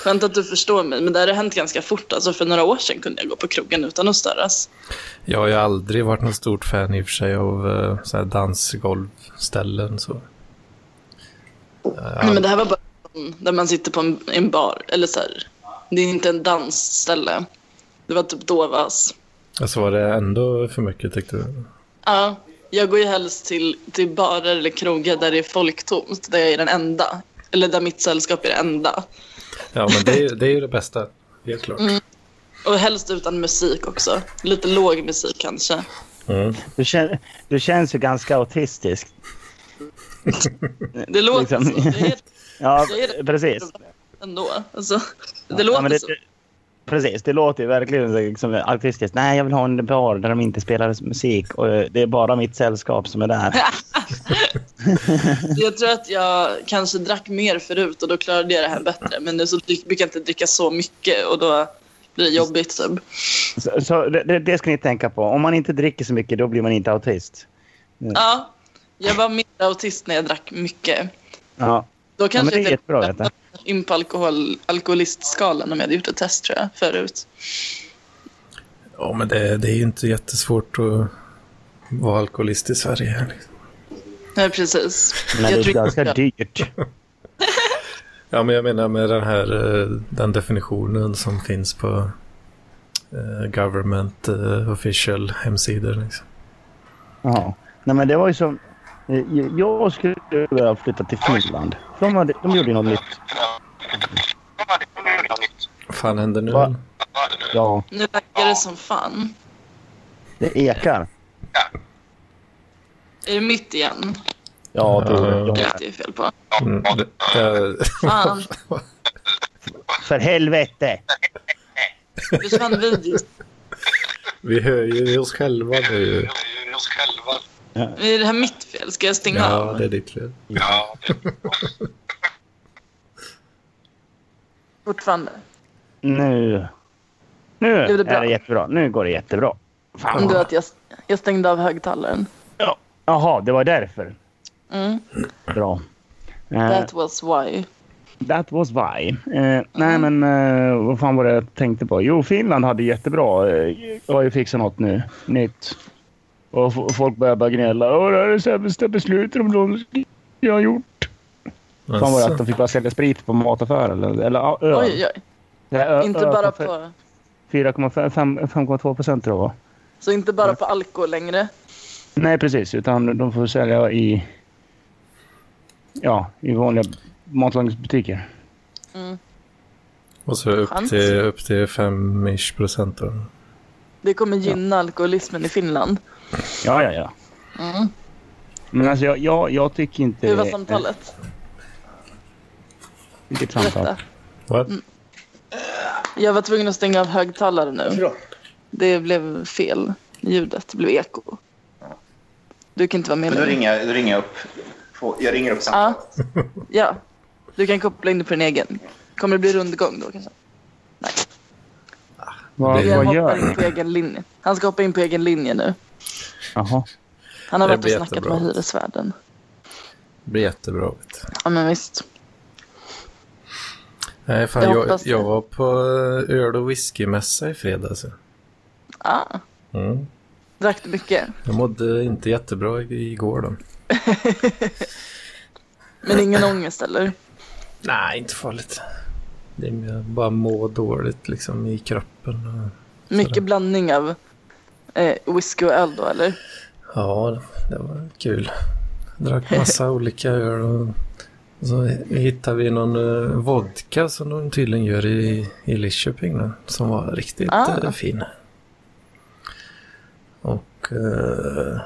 Skönt att du förstår mig, men det här har hänt ganska fort. Alltså för några år sedan kunde jag gå på krogen utan att störas.
Jag har ju aldrig varit något stort fan i och för sig av eh, så här dansgolvställen. Så.
Nej, men det här var bara en- där man sitter på en, en bar, eller så här. Det är inte en dansställe. Det var typ Dovas.
Alltså var det ändå för mycket tyckte du?
Ja, jag går ju helst till, till barer eller krogar där det är folktomt, där jag är den enda. Eller där mitt sällskap är det enda.
Ja, men det är, ju- det är ju det bästa. Helt klart.
Och helst utan musik också. Lite låg musik kanske.
Mm.
Du, kän, du känns ju ganska autistisk.
Det låter
Liksom.
så. Det är
Ja,
Det är det.
precis.
ändå. Alltså, det
Ja,
låter
men det-
så.
Precis, det låter ju verkligen som liksom, autistiskt. Nej, jag vill ha en bar där de inte spelar musik och eh, det är bara mitt sällskap som är där.
Jag tror att jag kanske drack mer förut och då klarade jag det här bättre. Men nu så drick- brukar jag inte dricka så mycket och då blir det jobbigt. Typ.
Så, så det- det, det ska ni tänka på. Om man inte dricker så mycket, då blir man inte autist.
Ja, jag var mer autist när jag drack mycket.
Ja,
Då
ja men
kanske
det är
inte
jättebra att veta.
in på alkohol, alkoholistskalan om jag hade gjort ett test tror jag förut.
Ja, men det, det är ju inte jättesvårt att vara alkoholist i Sverige. Liksom.
Nej, precis.
Men det
jag
är
tror inte
ganska
jag-
dyrt.
Ja, men jag menar med den här eh, den definitionen som finns på eh, government eh, official hemsidor. Liksom.
Ja. Nej, men det var ju som... eh, Jag skulle vilja flytta till Finland. De, hade, de gjorde ju något nytt.
Vad fan händer nu?
Va? Ja,
Nu laggar det som fan.
det ekar.
Är det mitt igen?
Ja, jag tror
Det
det.
är det fel på.
Mm, det- eh,
Fan,
För helvete!
försvann videon.
vi hör ju oss själva nu.
Är det här mitt fel? Ska jag stänga
Ja,
av?
det är ditt fel.
Fortfarande.
Nu. Nu
Blev det bra?
är det jättebra. Nu går det jättebra.
Om
Fan.
du att jag, jag stängde av högtalaren.
Ja. Jaha, det var därför.
Mm.
Bra. Eh,
That was why.
That was why. Eh, nej, men eh, vad fan var det jag tänkte på? Jo, Finland hade jättebra. Eh, jag har ju fixat något nu. Nytt. Och f- folk börjar bara gnälla. Åh, det här är det sämsta beslutet om någonsin jag har gjort. Fan
Alltså.
var det att de fick bara sälja sprit på mataffärer eller, eller ja, öl.
Oj, oj.
Det här ö-
Inte
öl
bara
för
på...
4,5 fem- 5,2 procent tror jag va?
Så inte bara på alkohol längre.
Nej, precis. Utan de får sälja i, ja, i vanliga matlagningsbutiker.
Och så upp
Chans.
till, upp till 5-ish procent då.
Det kommer gynna alkoholismen i Finland.
Ja, ja, ja.
Mm.
Men alltså jag, jag, jag tycker inte...
Hur var samtalet?
Vilket samtal?
Berätta.
What?
Mm. Jag var tvungen att stänga av högtalaren nu. Det blev fel. Ljudet blev eko. Du kan inte vara med
Men då
längre.
ringer, jag- då ringer jag upp. På, jag ringer upp
Ja.
samtalet.
ja. Du kan koppla in det på din egen. Kommer det bli rundgång då kanske?
Vad,
Det-
Jag
vad
hoppar
gör
in på egen linje. Han ska hoppa in på egen linje nu.
Jaha.
Han har
Det
varit och
blir
snackat
jättebra.
med hyresvärden.
Det blir jättebra. Vet du.
Ja men visst.
Nej, fan,
Jag
jag,
hoppas det.
jag var på eh, öl och whiskymässa i fredags. alltså.
Ah,
Mm.
drack du mycket?
Jag mådde inte jättebra i- igår då.
Men ingen ångest eller?
Nej, inte farligt. Det är bara må dåligt liksom i kroppen. och-
Mycket blandning av eh, whisky och öl då eller?
Ja, det var kul. Jag drack massa olika öl och och så hittade vi någon eh, vodka som de tydligen gör i, i Lidköping då, som var riktigt
Ah.
eh, fin. Och eh,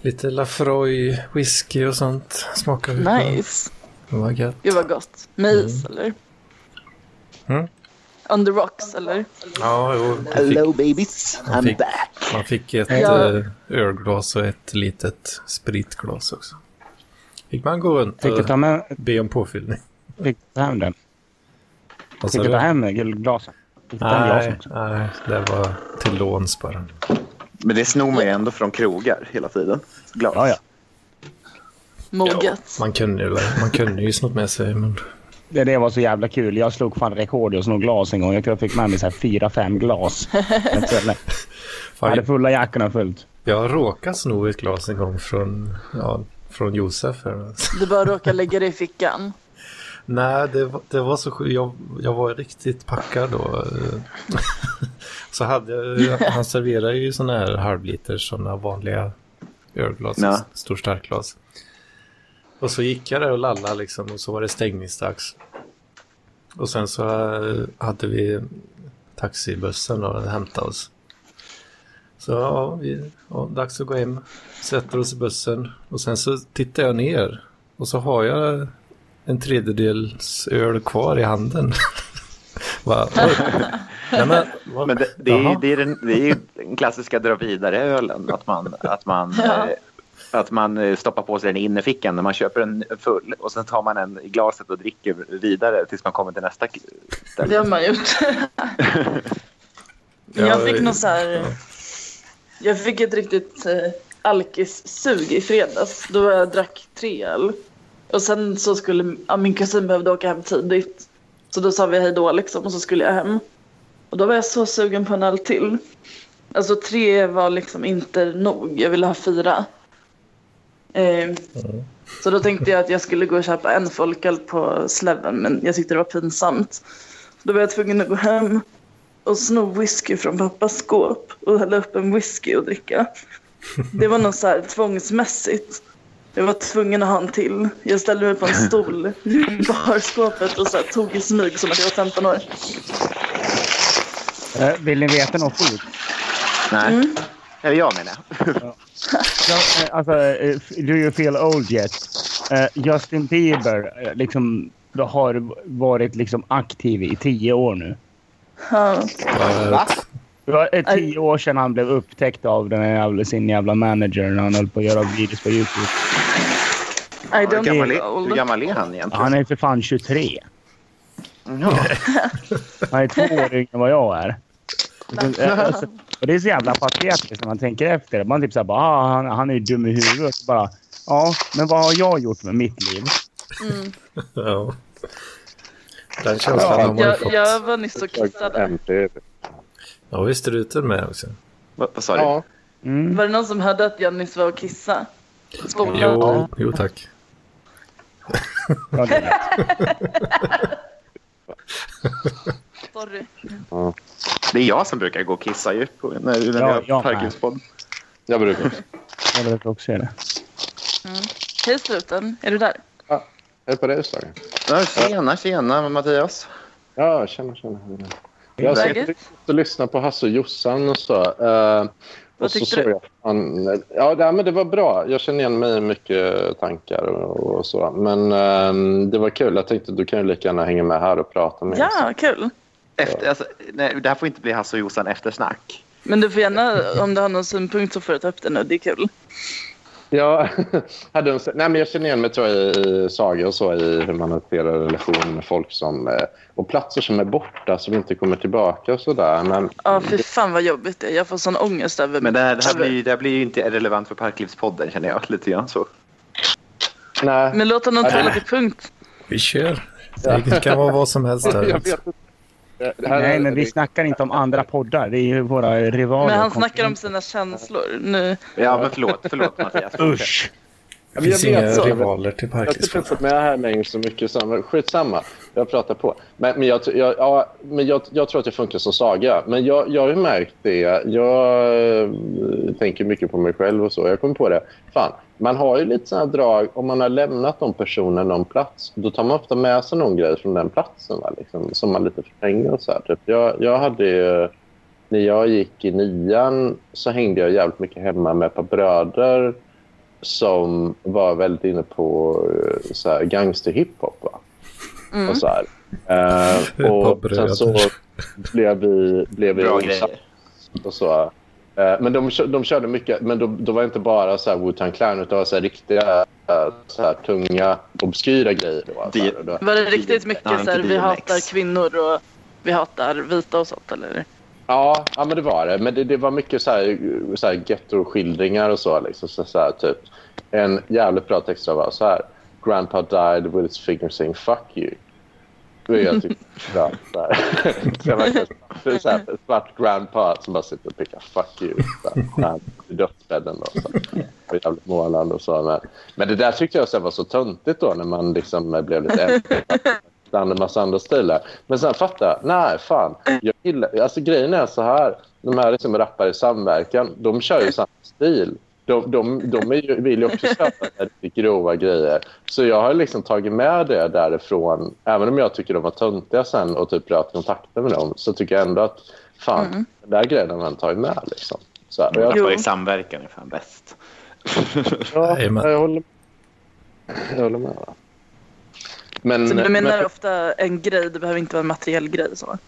lite Lafroy whisky och sånt smakade vi på.
Nice.
Det var gött.
Gud vad gott. Med is eller?
Mm.
On the rocks eller?
Ja, jo, man fick,
Hello, babies.
man
I'm
fick,
back.
man fick ett
Ja.
eh, ölglas och ett litet spritglas också. Fick man gå runt
Fick jag ta
och
med,
be om påfyllning?
fick jag ta hem den?
Vad sa
Fick jag ta
du?
hem gul- glasen? Fick jag ta hem glasen
Nej,
också?
nej, det var till låns bara.
Men det snor man ju ändå från krogar hela tiden. Glas.
Ja, ja.
Moget.
Man kunde ju, man kunde ju snott med sig, men
Det, det var så jävla kul. Jag slog fan rekord i att sno glas en gång. Jag tror jag fick med mig så här fyra, fem glas. Jag tror jag- Jag hade
fan,
fulla jackorna fullt.
jag råkade sno ett glas en gång från, ja, från Josef. Här.
Du bara råkar lägga det i fickan.
Nej, det, var- det var så sjukt. Jag, jag var riktigt packad då. eh. Så hade jag, han serverade ju sådana här halvliter, sådana vanliga ölglas,
Ja.
stor starkglas. Och så gick jag där och lallade liksom och så var det stängningsdags. Och sen så eh, hade vi taxibussen då, och hämtade oss. Så ja, vi, ja, dags att gå hem. Sätter oss i bussen och sen så tittar jag ner och så har jag en tredjedels öl kvar i handen. Bara, oj. Nej, men, vad-
Men det, det, är,
Jaha.
ju- det, är den, det är ju den klassiska dra vidare-ölen. Att man, att, man,
Ja.
eh, att man eh, stoppar på sig den i innerfickan när man köper en full. Och sen tar man en i glaset och dricker vidare tills man kommer till nästa. k-
Det har man gjort. Jag fick någon så här... Jag fick ett riktigt eh, alkissug i fredags. Då jag drack tre öl. Och sen så skulle... Ja, min kusin behövde åka hem tidigt. Så då sa vi hej då liksom och så skulle jag hem. Och då var jag så sugen på en öl till. Alltså tre var liksom inte nog. Jag ville ha fyra. Eh, så då tänkte jag att jag skulle gå och köpa en folköl på Sleven. Men jag tyckte det var pinsamt. Då var jag tvungen att gå hem och sno whisky från pappas skåp och hälla upp en whisky och dricka. Det var något så här tvångsmässigt. Jag var tvungen att ha en till. Jag ställde mig på en stol i barskåpet och så här, tog i smyg som att jag var 15 år.
Eh, Vill ni veta något sjukt?
Mm. Nej. Eller jag menar jag.
Ja, eh, Alltså, eh, do you feel old yet? Eh, Justin Bieber eh, liksom, har varit liksom, aktiv i tio år nu.
Ja.
Va?
Det var eh, tio år sedan han blev upptäckt av den här jävla, sin jävla manager när han höll på att göra videos på YouTube.
I
Hur
don't
gammal,
feel
är, hur
old.
gammal är han egentligen?
Han är för fan 23.
Ja.
Han är två år yngre än vad jag är. Alltså, och det är så jävla patetiskt när man tänker efter. Man typ såhär bara, ah, han, han är ju dum i huvudet. Så bara, ja, men vad har jag gjort med mitt liv?
Mm.
Ja. Den känslan
Ja,
har man ju
Jag,
fått.
jag var nyss och kissade.
Ja, vi struten med också.
Vad vad sa du?
Ja.
Mm.
Var det någon som hörde att jag nyss var och kissade? Spola.
Jo, jo tack.
Ja, det är det.
Sorry.
Det är jag som brukar gå och kissa ju på, när, när
Ja,
vi har
jag med.
Parkinspodd.
Jag brukar.
Jag vill att du också gör det.
Hej struten, är du där?
Är det på det slaget?
Ja, Tjena, tjena Mattias.
Ja, tjena, tjena. Jag
Läget?
satt och lyssnade på Hasse och Jossan och så. eh,
Vad
och så
tyckte
såg
du?
Jag, fan- ja, nej, men det var bra. Jag känner igen mig i mycket tankar och, och så. Men eh, det var kul. Jag tänkte du kan ju lika gärna hänga med här och prata med oss.
Ja, kul.
Efter, alltså, nej, det här får inte bli Hasse och Jossan eftersnack.
Men du får gärna, om du har någon synpunkt så får du ta upp det nu, det är kul.
Ja, hade en, nej, men jag känner igen mig tror jag, i i saga och så i hur man hanterar relationer med folk som, eh, och platser som är borta som inte kommer tillbaka och sådär. Men
Ja, fy fan vad jobbigt det är. Jag får sån ångest över
Men det här, Alltså, det här,
över-
blir, ju- det här blir ju inte relevant för Parklivspodden känner jag lite grann så.
nej,
Men låt honom ta lite punkt.
Vi kör. Det kan vara vad som helst här.
jag vet inte. Det här
Nej,
är-
men vi snackar inte om andra poddar. Det är ju våra rivaler.
Men han snackar om sina känslor nu.
Ja, men förlåt, förlåt Mattias.
Usch!
Det
men jag
finns inga
vet så.
rivaler till
Jag har inte
Parkis.
pratat med här längre så mycket. Så, men skitsamma, jag pratar på. Men, men, jag, jag, ja, men jag, jag tror att jag funkar som Saga. Men jag, jag har ju märkt det. Jag eh, tänker mycket på mig själv och så. Jag kom på det. Fan, man har ju lite sådana drag. Om man har lämnat någon person eller någon plats, då tar man ofta med sig någon grej från den platsen va? Liksom, som man lite förtränger. Och så här, typ. jag, jag hade ju... När jag gick i nian så hängde jag jävligt mycket hemma med ett par bröder som var väldigt inne på eh, så här, gangsterhiphop. Va?
Mm.
Och så här. Eh,
par
och
bröder.
sen så blev vi, blev vi
Bra
osams
grejer.
och så. Eh, Men de, kö- de körde mycket, men då, då var det inte bara så här Wu-Tang Clan utan det var så här riktiga eh, så här tunga, obskyra grejer. Då, så här,
Det-
Och då,
Var det riktigt
Nej,
mycket så
inte
här, vi
DMX.
hatar kvinnor och vi hatar vita och sånt eller?
Ja, ja, men det var det. Men det, det var mycket så här, så här gettoskildringar och så. Liksom. så, så här, typ. En jävligt bra text var så här. Grandpa died with his finger saying fuck you. Då är jag typ bra, så här. Så jag verkligen- så är det så här, en svart grandpa som bara sitter och pickar fuck you. Så här, han är i dödsbädden. Då, så här. Och jävligt målande och så. Men, men det där tyckte jag så här var så töntigt då när man liksom blev lite äldre bland en massa andra stilar. Men sen fatta, nej fan. Jag gillar, alltså grejen är så här, de här liksom rappar i samverkan, de kör ju samma stil. De, de, de är ju, vill ju också köpa riktigt grova grejer. Så jag har liksom tagit med det därifrån. Även om jag tycker de var töntiga sen och typ bröt kontakten med dem så tycker jag ändå att fan, den där grejen har man tagit med. Liksom. Så här, och jag,
Jo.
Rappar i samverkan är fan bäst.
ja,
Jajamän.
jag, håller, jag håller med. Men,
Så
Mm,
du
men-
menar ofta en grej, det behöver inte vara en materiell grej så?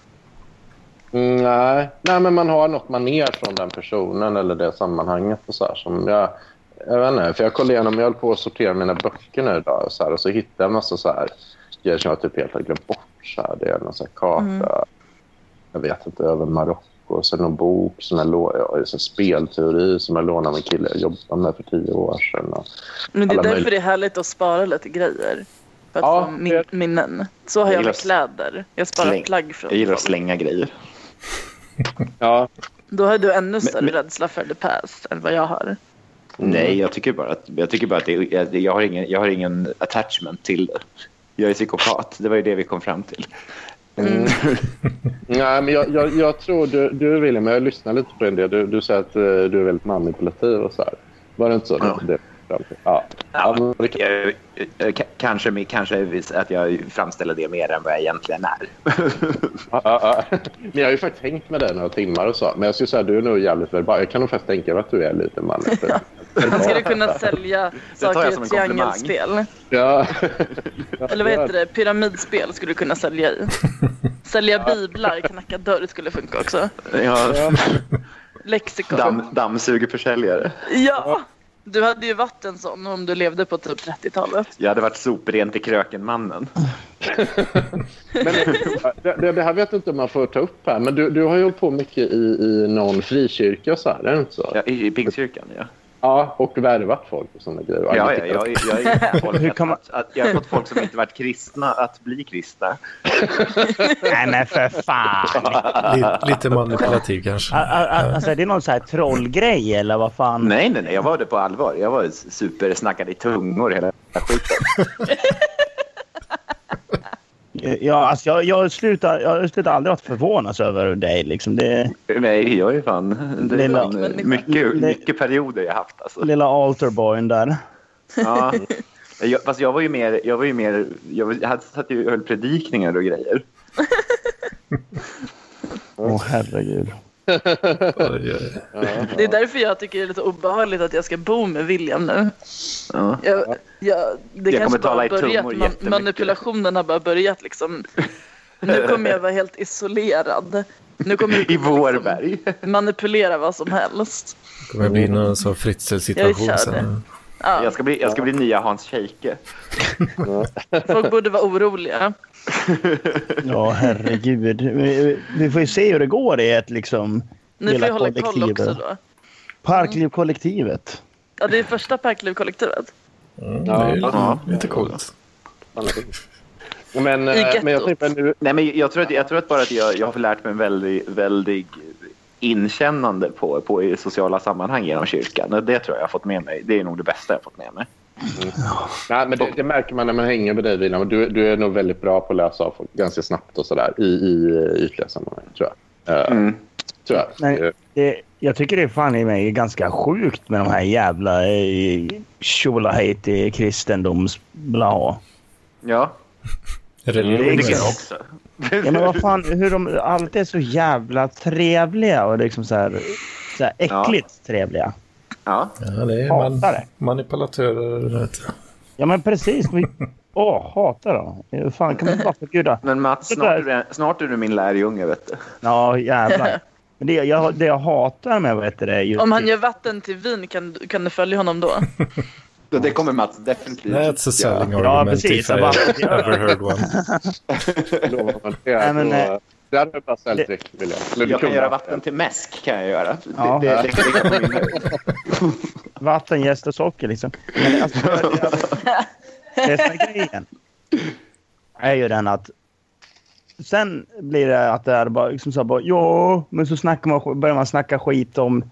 Mm, Nej. Nej, men man har något man är från den personen eller det sammanhanget. Och så här, som jag, jag vet inte, för jag kollade igenom, jag höll på att sortera mina böcker nu idag och så, här, och så hittade jag en massa så här, grejer som jag typ helt har glömt bort. Så här, det är någon så här karta,
Mm.
jag vet inte, över Marocko. och Sen någon bok, som jag lå- ja, så här spelteori som jag lånade av en kille jag jobbade med för tio år sedan. Och,
Men det är
Alla
därför
möjliga.
det är härligt att spara lite grejer. För att
Ja,
få min- minnen. Så har
Jag
jag
gillar
med
s-
kläder. Jag sparar
Släng.
plagg från
Jag gillar att
folk.
slänga grejer.
ja,
Då har du ännu större
men-
rädsla för the past än vad jag har.
Nej, jag tycker bara att, jag tycker bara att det, jag, jag, har ingen, jag har ingen attachment till det. Jag är psykopat. Det var ju det vi kom fram till. Mm.
Nej, men jag, jag, jag tror du, du William, jag lyssnar lite på en del. Du, du säger att eh, du är väldigt manipulativ och så här. Var det inte så?
Ja.
Det, ja. Ja, men det kan-
Jag, jag, k- kanske med- kanske är vis- att jag framställer det mer än vad jag egentligen är.
ja, ja, ja. Men jag har ju faktiskt hängt med dig några timmar och så. Men jag skulle säga du är nog jävligt verbal. Jag kan nog faktiskt tänka mig att du är lite manipulativ.
Han skulle kunna sälja
jag
saker i
som en
ett triangelspel.
Ja.
Eller vad heter det? Pyramidspel skulle du kunna sälja i. Sälja biblar, knacka dörr skulle funka också.
Ja,
Lexikon.
damm, dammsugarförsäljare.
Ja! Du hade ju varit en sån om du levde på typ 30-talet.
Jag hade varit soprent i Krökenmannen.
Men, det, det, det här vet jag inte om man får ta upp här, men du, du har ju hållit på mycket i, i någon frikyrka och så här, är det inte så?
Ja, I i Pingstkyrkan, ja.
Ja, och värvat folk och sådana grejer.
Ja, ja, jag, jag, jag, folk
Hur kan man-
att, att, jag har fått folk som inte varit kristna att bli kristna.
Nej, men för fan!
Lite, lite manipulativ kanske.
A- a- a- Alltså, är det någon så här trollgrej eller vad fan?
Nej, nej, nej. Jag var det på allvar. Jag var supersnackad i tungor hela skiten.
Ja, alltså, jag, jag, slutar, jag slutar aldrig att förvånas över dig. Liksom. Det
Nej, jag är fan... Det är
Lilla-
fan eh, mycket,
Lilla-
mycket perioder jag haft alltså.
lilla alterboyen där.
Ja. Jag, fast jag var ju mer... Jag, var ju mer, jag, var- jag hade, satt ju och höll predikningar och grejer.
Åh, herregud.
Oj, oj.
Det är därför jag tycker det är lite obehagligt att jag ska bo med William nu.
Ja.
Jag, jag, det
Jag
kanske
kommer
bara
tala
har
i
börjat.
tungor
Man,
jättemycket.
manipulationen har bara börjat liksom. Nu kommer jag vara helt isolerad. Nu kommer jag
I
kunna
Vårberg.
liksom manipulera vad som helst.
Det kommer bli någon sån
Jag
Fritzl-situation
kör
sen.
Ja,
Jag ska bli, jag ska bli nya Hans Scheike.
folk borde vara oroliga.
Ja, herregud. Vi, vi får ju se hur det går i ett liksom...
Ni får
hela
ju hålla koll
kollektivet.
också då.
Parklivkollektivet.
Ja, det är första Parklivkollektivet.
Mm, det
Ja,
är
ja.
lite, lite coolt.
Men,
I
eh, men jag
gettot.
tänkte nu...
Nej, men jag tror att, jag tror att bara att jag, jag har lärt mig en väldig, väldig inkännande på, på i sociala sammanhang genom kyrkan. Och Det tror jag jag har fått med mig. Det är nog det bästa jag har fått med mig.
Nej, men det, det märker man när man hänger med dig, William. Du, du är nog väldigt bra på att läsa av folk ganska snabbt och sådär i, i eh, ytliga sammanhang, tror jag. Eh,
Mm.
tror jag.
Nej.
Eh,
Det, jag tycker det är fan i mig ganska sjukt med de här jävla eh, tjolahejti kristendomsbla.
Ja, det
Religionen.
tycker jag också.
Ja, men vad fan, hur de alltid är så jävla trevliga och liksom så här, så här äckligt trevliga.
Ja.
Ja, det är man,
Hatar det.
manipulatörer. vet du.
Ja, men precis. Vi, åh, hatar dem. Hur fan kan man bara förbjuda?
Men Mats, snart är, du- snart är du min lärjunge. Vet du.
Ja, jävlar. Men det jag, det jag hatar med vad heter det, just
Om han gör vatten till vin, kan, kan du följa honom då?
Så Det kommer Mats definitivt
That's a selling
Ja,
argument
precis.
if I
Jag bara-
ever heard one.
lovar man det,
Nej, men,
då,
eh,
eh, det hade jag bara ställt direkt, William. Eller du
Jag kan
kunde
göra
haft
vatten till mäsk. kan jag göra.
Ja.
Det, det, det, det kan bli nöjd.
vatten, jäst och socker liksom. Men alltså, det som är grejen är ju den att sen blir det att det är bara liksom så här bara ja, men så snackar man, börjar man snacka skit om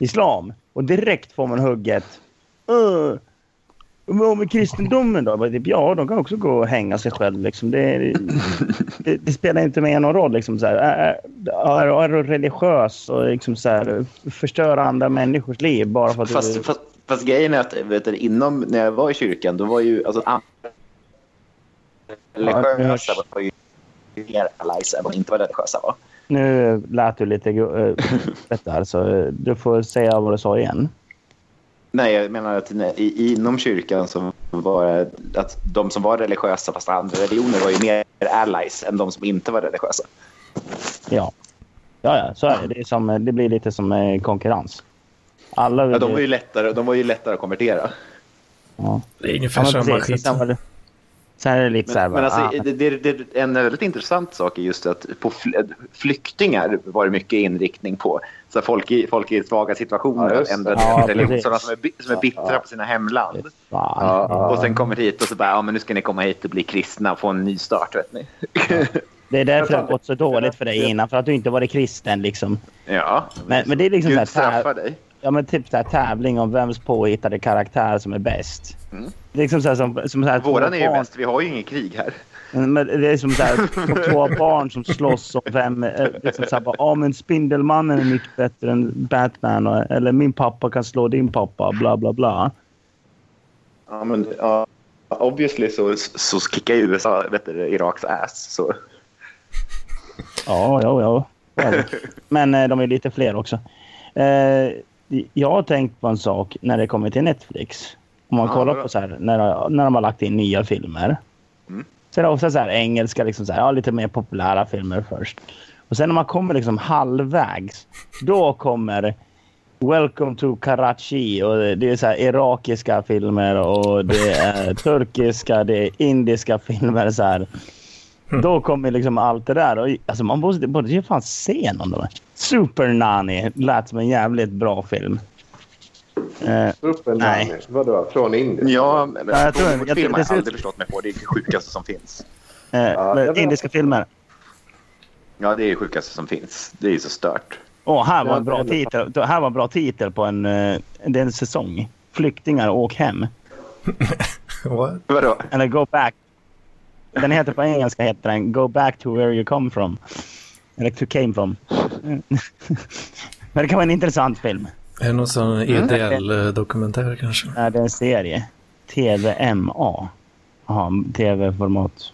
islam och direkt får man hugget. "Åh, Men om kristendomen då? Jag bara, typ, Ja, de kan också gå och hänga sig själv. Liksom. Det, det, det spelar inte med någon roll. Liksom, så här. Är, är, är du religiös och liksom, så här, förstöra andra människors liv bara för att du...
Fast, fast, fast grejen är att vet du, inom, när jag var i kyrkan, då var ju... Alltså, an- religiösa var ju mer allies än vad inte var religiösa var.
Nu lät du lite äh, där, så eh, du får säga vad du sa igen.
Nej, jag menar att ne- i, inom kyrkan så var det att de som var religiösa fast andra religioner var ju mer allies än de som inte var religiösa.
Ja, ja, ja så är det. Det, är som, eh, det blir lite som eh, konkurrens. Alla vill
Ja, de, var ju lättare, de var ju lättare att konvertera.
ja.
Det är
Ja,
ungefär
men
samma
precis.
skit.
Sen var det- Sen är det lite så här...
Men, men
bara,
alltså,
ah,
det, det, det, en väldigt intressant sak är just att på fl- eh, flyktingar var det mycket inriktning på. Så här, folk, i, folk i svaga situationer
Ja, just det.
ändrade
Ja,
religion.
precis.
Sådana som är, bi- som är bittra på sina hemland.
fan.
Ja, ja.
Och sen kommer hit och så bara, ja men nu ska ni komma hit och bli kristna och få en ny start vet ni.
Det är därför det har gått så dåligt för dig innan, för att du inte varit kristen. Liksom.
Ja,
Men, men det är liksom
Gud
så här,
straffar dig.
ja, men typ så här tävling om vems påhittade karaktär som är bäst.
Mm.
Det är liksom så här, som, som så här,
Våran är ju
barn-
bäst, vi har ju inget krig här.
Mm, Men det är som, så här, som två barn som slåss om vem... eh, Liksom så här, bara, ah, men Spindelmannen är mycket bättre än Batman. och- Eller min pappa kan slå din pappa. Bla, bla, bla.
Ja, men, ja, obviously så, så kickar ju USA vet du, Iraks ass. Så.
Ja, ja, ja. Men eh, de är lite fler också. Eh, jag har tänkt på en sak när det kommer till Netflix. Om man
Ja,
kollar
bra.
på så här, när, när de har lagt in nya filmer.
Mm.
Så är det ofta så här engelska, liksom så här, ja, lite mer populära filmer först. Och sen när man kommer liksom halvvägs, då kommer Welcome to Karachi och det är så här irakiska filmer och det är turkiska, det är indiska filmer. Så här.
Mm.
Då kommer liksom allt det där. Och, alltså man borde, borde ju fan se någon av dem. Super Nanny lät som en jävligt bra film. Eh,
Upp en
Nej.
nanny. Vadå? Från Indien?
Ja, men
Ja, jag tror- jag tror-
Bollywoodfilmer har
det ser
jag
ut-
aldrig förstått mig på. Det är det sjukaste som finns.
eh,
Ja,
men
jag vet.
indiska filmer.
Ja, det är det sjukaste som finns. Det är så stört.
Åh, här, var
Ja,
en bra
det är det.
titel, här var en bra titel på en, eh, det är en säsong. Flyktingar, åk hem.
What?
Vadå?
Eller Go Back. Den heter på engelska heter den Go Back to where you come from. Eller to came from. Men det kan vara en intressant film.
Är det någon sån
Mm.
EDL-dokumentär kanske?
Nej, det är en serie. TVMA. Jaha, tv-format.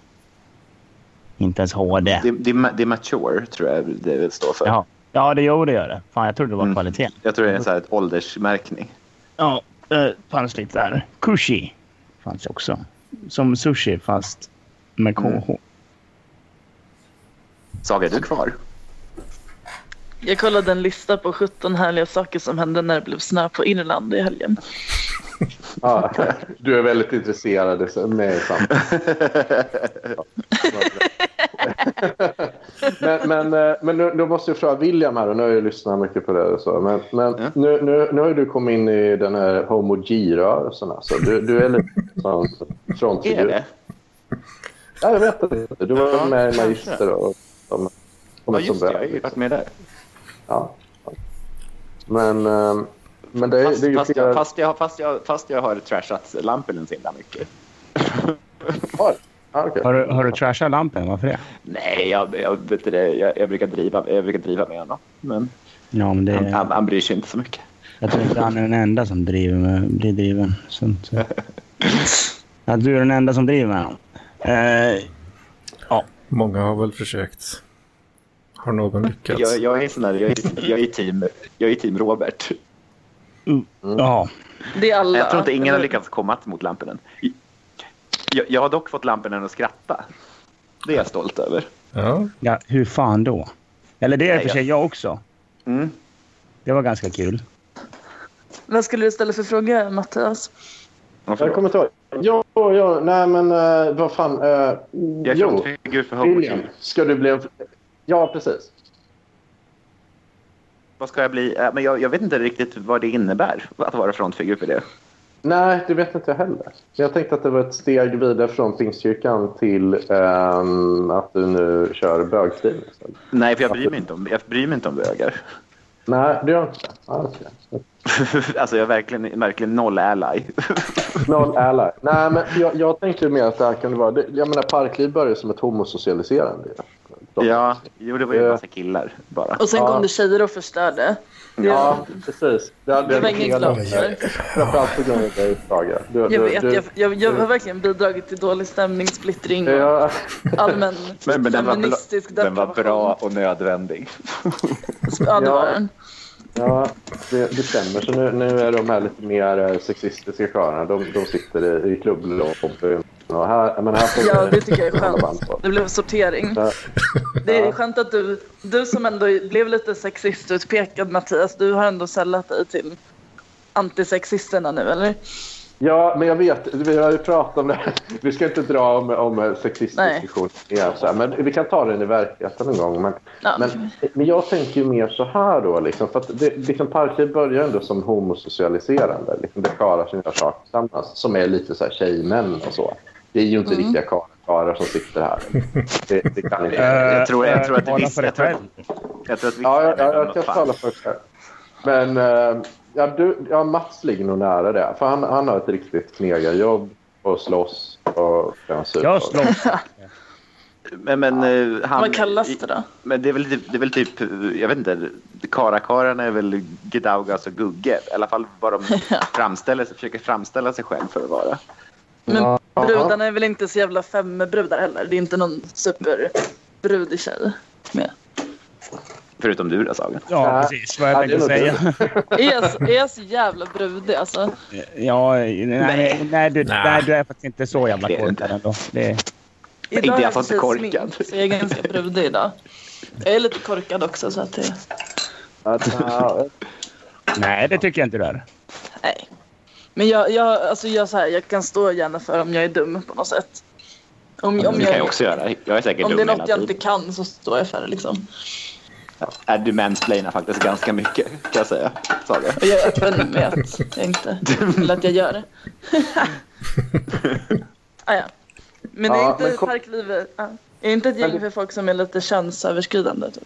Inte ens HD.
Det, det, är ma- det är mature, tror jag det vill stå för.
Jaha. Ja, det gör det. Gör det. Fan, jag trodde det var
Mm.
kvalitet.
Jag tror det är en så här ett åldersmärkning.
Ja, eh, fanns lite där. Kushi fanns också. Som sushi, fast med KH.
Saga, är du kvar?
Jag kollade en lista på 17 härliga saker som hände när det blev snö på Irland i helgen.
Ja, du är väldigt intresserad. det är Med samt. men men, eh, men nu, nu måste jag fråga William här. Och nu har jag lyssnat mycket på det. Och så, men men
Ja.
nu, nu, nu har ju du kommit in i den här homogi-rörelsen. Alltså. Du, du är lite sån frontfigur.
är det?
Ja, jag vet inte. Du var
Ja,
med i
kanske.
Magister och... och, och
Ja, just det. Jag har ju varit med där.
Ja. Men, eh, men det, är-
Fast,
det är ju
fast,
flera...
jag, fast, jag, fast, jag, fast jag har trashat Lampelen så himla mycket.
Ja, Ah, okej.
Har, du, har du trashat lampen? Varför det?
Nej, jag, jag, vet inte det, jag, jag, brukar driva, jag brukar driva med honom. Men
Ja, men det...
han, han, han bryr sig inte så mycket.
Jag tror inte han är den enda som driver med, blir driven. Sånt, så. ja, du är den enda som driver med honom. Eh,
Många har väl försökt. Har någon lyckats?
Jag, jag, är en sån där, jag, är, jag, är team, jag är team Robert.
ja.
Det är alla.
Jag tror inte ingen har
eller-
lyckats komma mot Lampinen. Jag, jag har dock fått Lampinen att skratta. Det är jag stolt över.
Ja,
ja, hur fan då? Eller det är i och för sig jag också.
Mm.
Det var ganska kul.
Vad skulle du ställa för fråga, Mattias?
Varför
Jag
då?
kommer inte ihåg. Jo, jo, nej men eh, vad fan. eh,
Jag är
jo,
frontfigur för
William,
Homogen.
ska du bli en... Ja, precis.
Vad ska jag bli? Eh, Men jag, jag vet inte riktigt vad det innebär att vara frontfigur för det.
Nej, det vet inte jag heller. Men jag tänkte att det var ett steg vidare från Pingstkyrkan till ehm, att du nu kör bögstil. istället.
Nej, för jag bryr mig inte om, jag bryr mig inte om bögar.
Nej, det gör jag inte. Ah, okej.
alltså, jag är verkligen, verkligen noll ally.
Noll ally. Nej, men jag, jag tänkte mer att det här kunde vara... det- Jag menar, parkliv började som ett homosocialiserande. ju.
ja, jo, det var ju en
Eh.
massa killar bara.
Och sen
Ja.
kom det tjejer och förstörde. Det,
Ja, precis. Det, hade
det
jag
var ingen
fel
glad
om.
för.
Framförallt på grund av dig, Saga. Du-
Jag
du-
vet,
du-
jag, jag, jag har verkligen bidragit till dålig stämning, splittring och
Ja,
allmän
Men, men den, var bra,
feministisk
den var
depravation.
bra och nödvändig.
Ja, det
Ja.
var den.
ja det, det stämmer. Så nu, nu är de här lite mer eh, sexistiska körerna. De, de sitter i, i klubblobbyn. Och här, men här
Ja, det tycker jag är skönt.
på.
Det blev sortering.
Ja.
Det är
Ja.
skönt att du, du som ändå blev lite sexistutpekad Mattias, du har ändå sällat dig till antisexisterna nu eller?
Ja, men jag vet. Vi har ju pratat om det här. Vi ska inte dra om, om eh, sexistdiskussion. Ja, så här, men vi kan ta den i verkligheten en gång. Men,
Ja.
men, men jag tänker ju mer så här då. Liksom, för att det, liksom parkliv börjar ändå som homosocialiserande. Liksom, det är karlar som gör saker tillsammans. Som är lite så här tjejmän och så. Det är ju
Mm.
inte riktiga karlar karlar som sitter här. Det, det kan inte...
jag tror- jag tror att det
Eh,
visste-
bara för dig
jag tror- Jag tror att vi
Ja, jag, jag,
Vad
jag kan
fan.
tala för själv. Men eh, ja, du, ja, Mats ligger nog nära det. För han, han har ett riktigt knegarjobb och slåss och kan supa.
Jag slåss.
Men, men, eh, han,
Vad kallas det då?
Men det är, väl, typ- det är väl typ, jag vet inte, karakararna är väl Gdaugas och Gugge. I alla fall vad de framställer sig, försöker framställa sig själv för att vara.
Men brudarna är väl inte så jävla femmebrudar heller? Det är inte någon superbrudig tjej med.
Förutom du då, Sagan.
Ja,
Ja.
precis. Vad jag tänkte
det
säga.
låter-
Är jag, är jag så jävla brudig alltså?
Ja, nej, nej.
Nej.
du, nej, du är faktiskt inte så jävla
Det är du inte.
korkad ändå. Det,
Idag
Inte
är
i alla fall inte
precis
korkad.
smink, så jag är ganska brudig idag. Jag är lite korkad också så att det...
Att, ja,
nej, det tycker jag inte du är.
Nej. Men jag, jag, alltså jag, så här, jag kan stå gärna för om jag är dum på något sätt. Om, om,
det kan jag
jag,
också göra. Jag är säkert
om det är
dum
något jag
hela
inte
tiden.
kan så står jag för det liksom.
Äh, Du mansplainar faktiskt ganska mycket, kan jag säga. Saga.
Och jag är öppen med att jag inte vill att jag gör det. ah, ja. Men är
Ja,
inte
men kom-
parklivet... ja. Är inte ett gäng för folk som är lite könsöverskridande? Typ?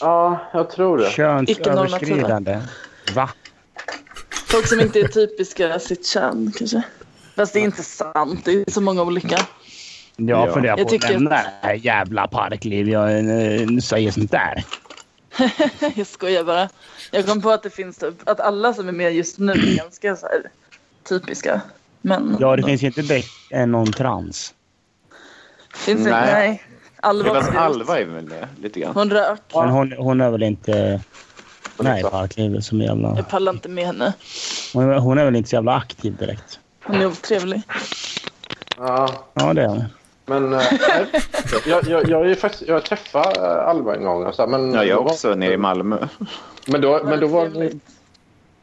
ja, jag tror det.
Könsöverskridande. Va?
Folk som inte är typiska sitt kön kanske. Fast det är inte sant. Det är så många olika.
Jag
Ja.
funderar på
Jag
att
tycker-
lämna det här jävla parkliv. Jag eh, säger sånt där.
Jag skojar bara. Jag kom på att det finns typ, att alla som är med just nu är ganska så här typiska män.
Ja, det finns ju inte direkt eh, någon trans.
Finns det?
Nej.
Nej. nej. Alva
Fast
var
Alva är väl det, lite grann.
Hon rök.
Men hon, hon är väl inte...
Hon är
Nej,
klar.
parklivet som jävla...
Jag pallar inte med henne.
Hon, hon är väl inte så jävla aktiv direkt.
Hon är otrevlig.
Ja,
Ja, det är hon.
Men eh, nej. jag, jag, jag, är ju faktiskt, jag träffade eh, Alva en gång. och Så här, men,
Ja,
Mm.
jag
då var-
också, nere i Malmö.
Men då, men då var hon,
Otrevligt.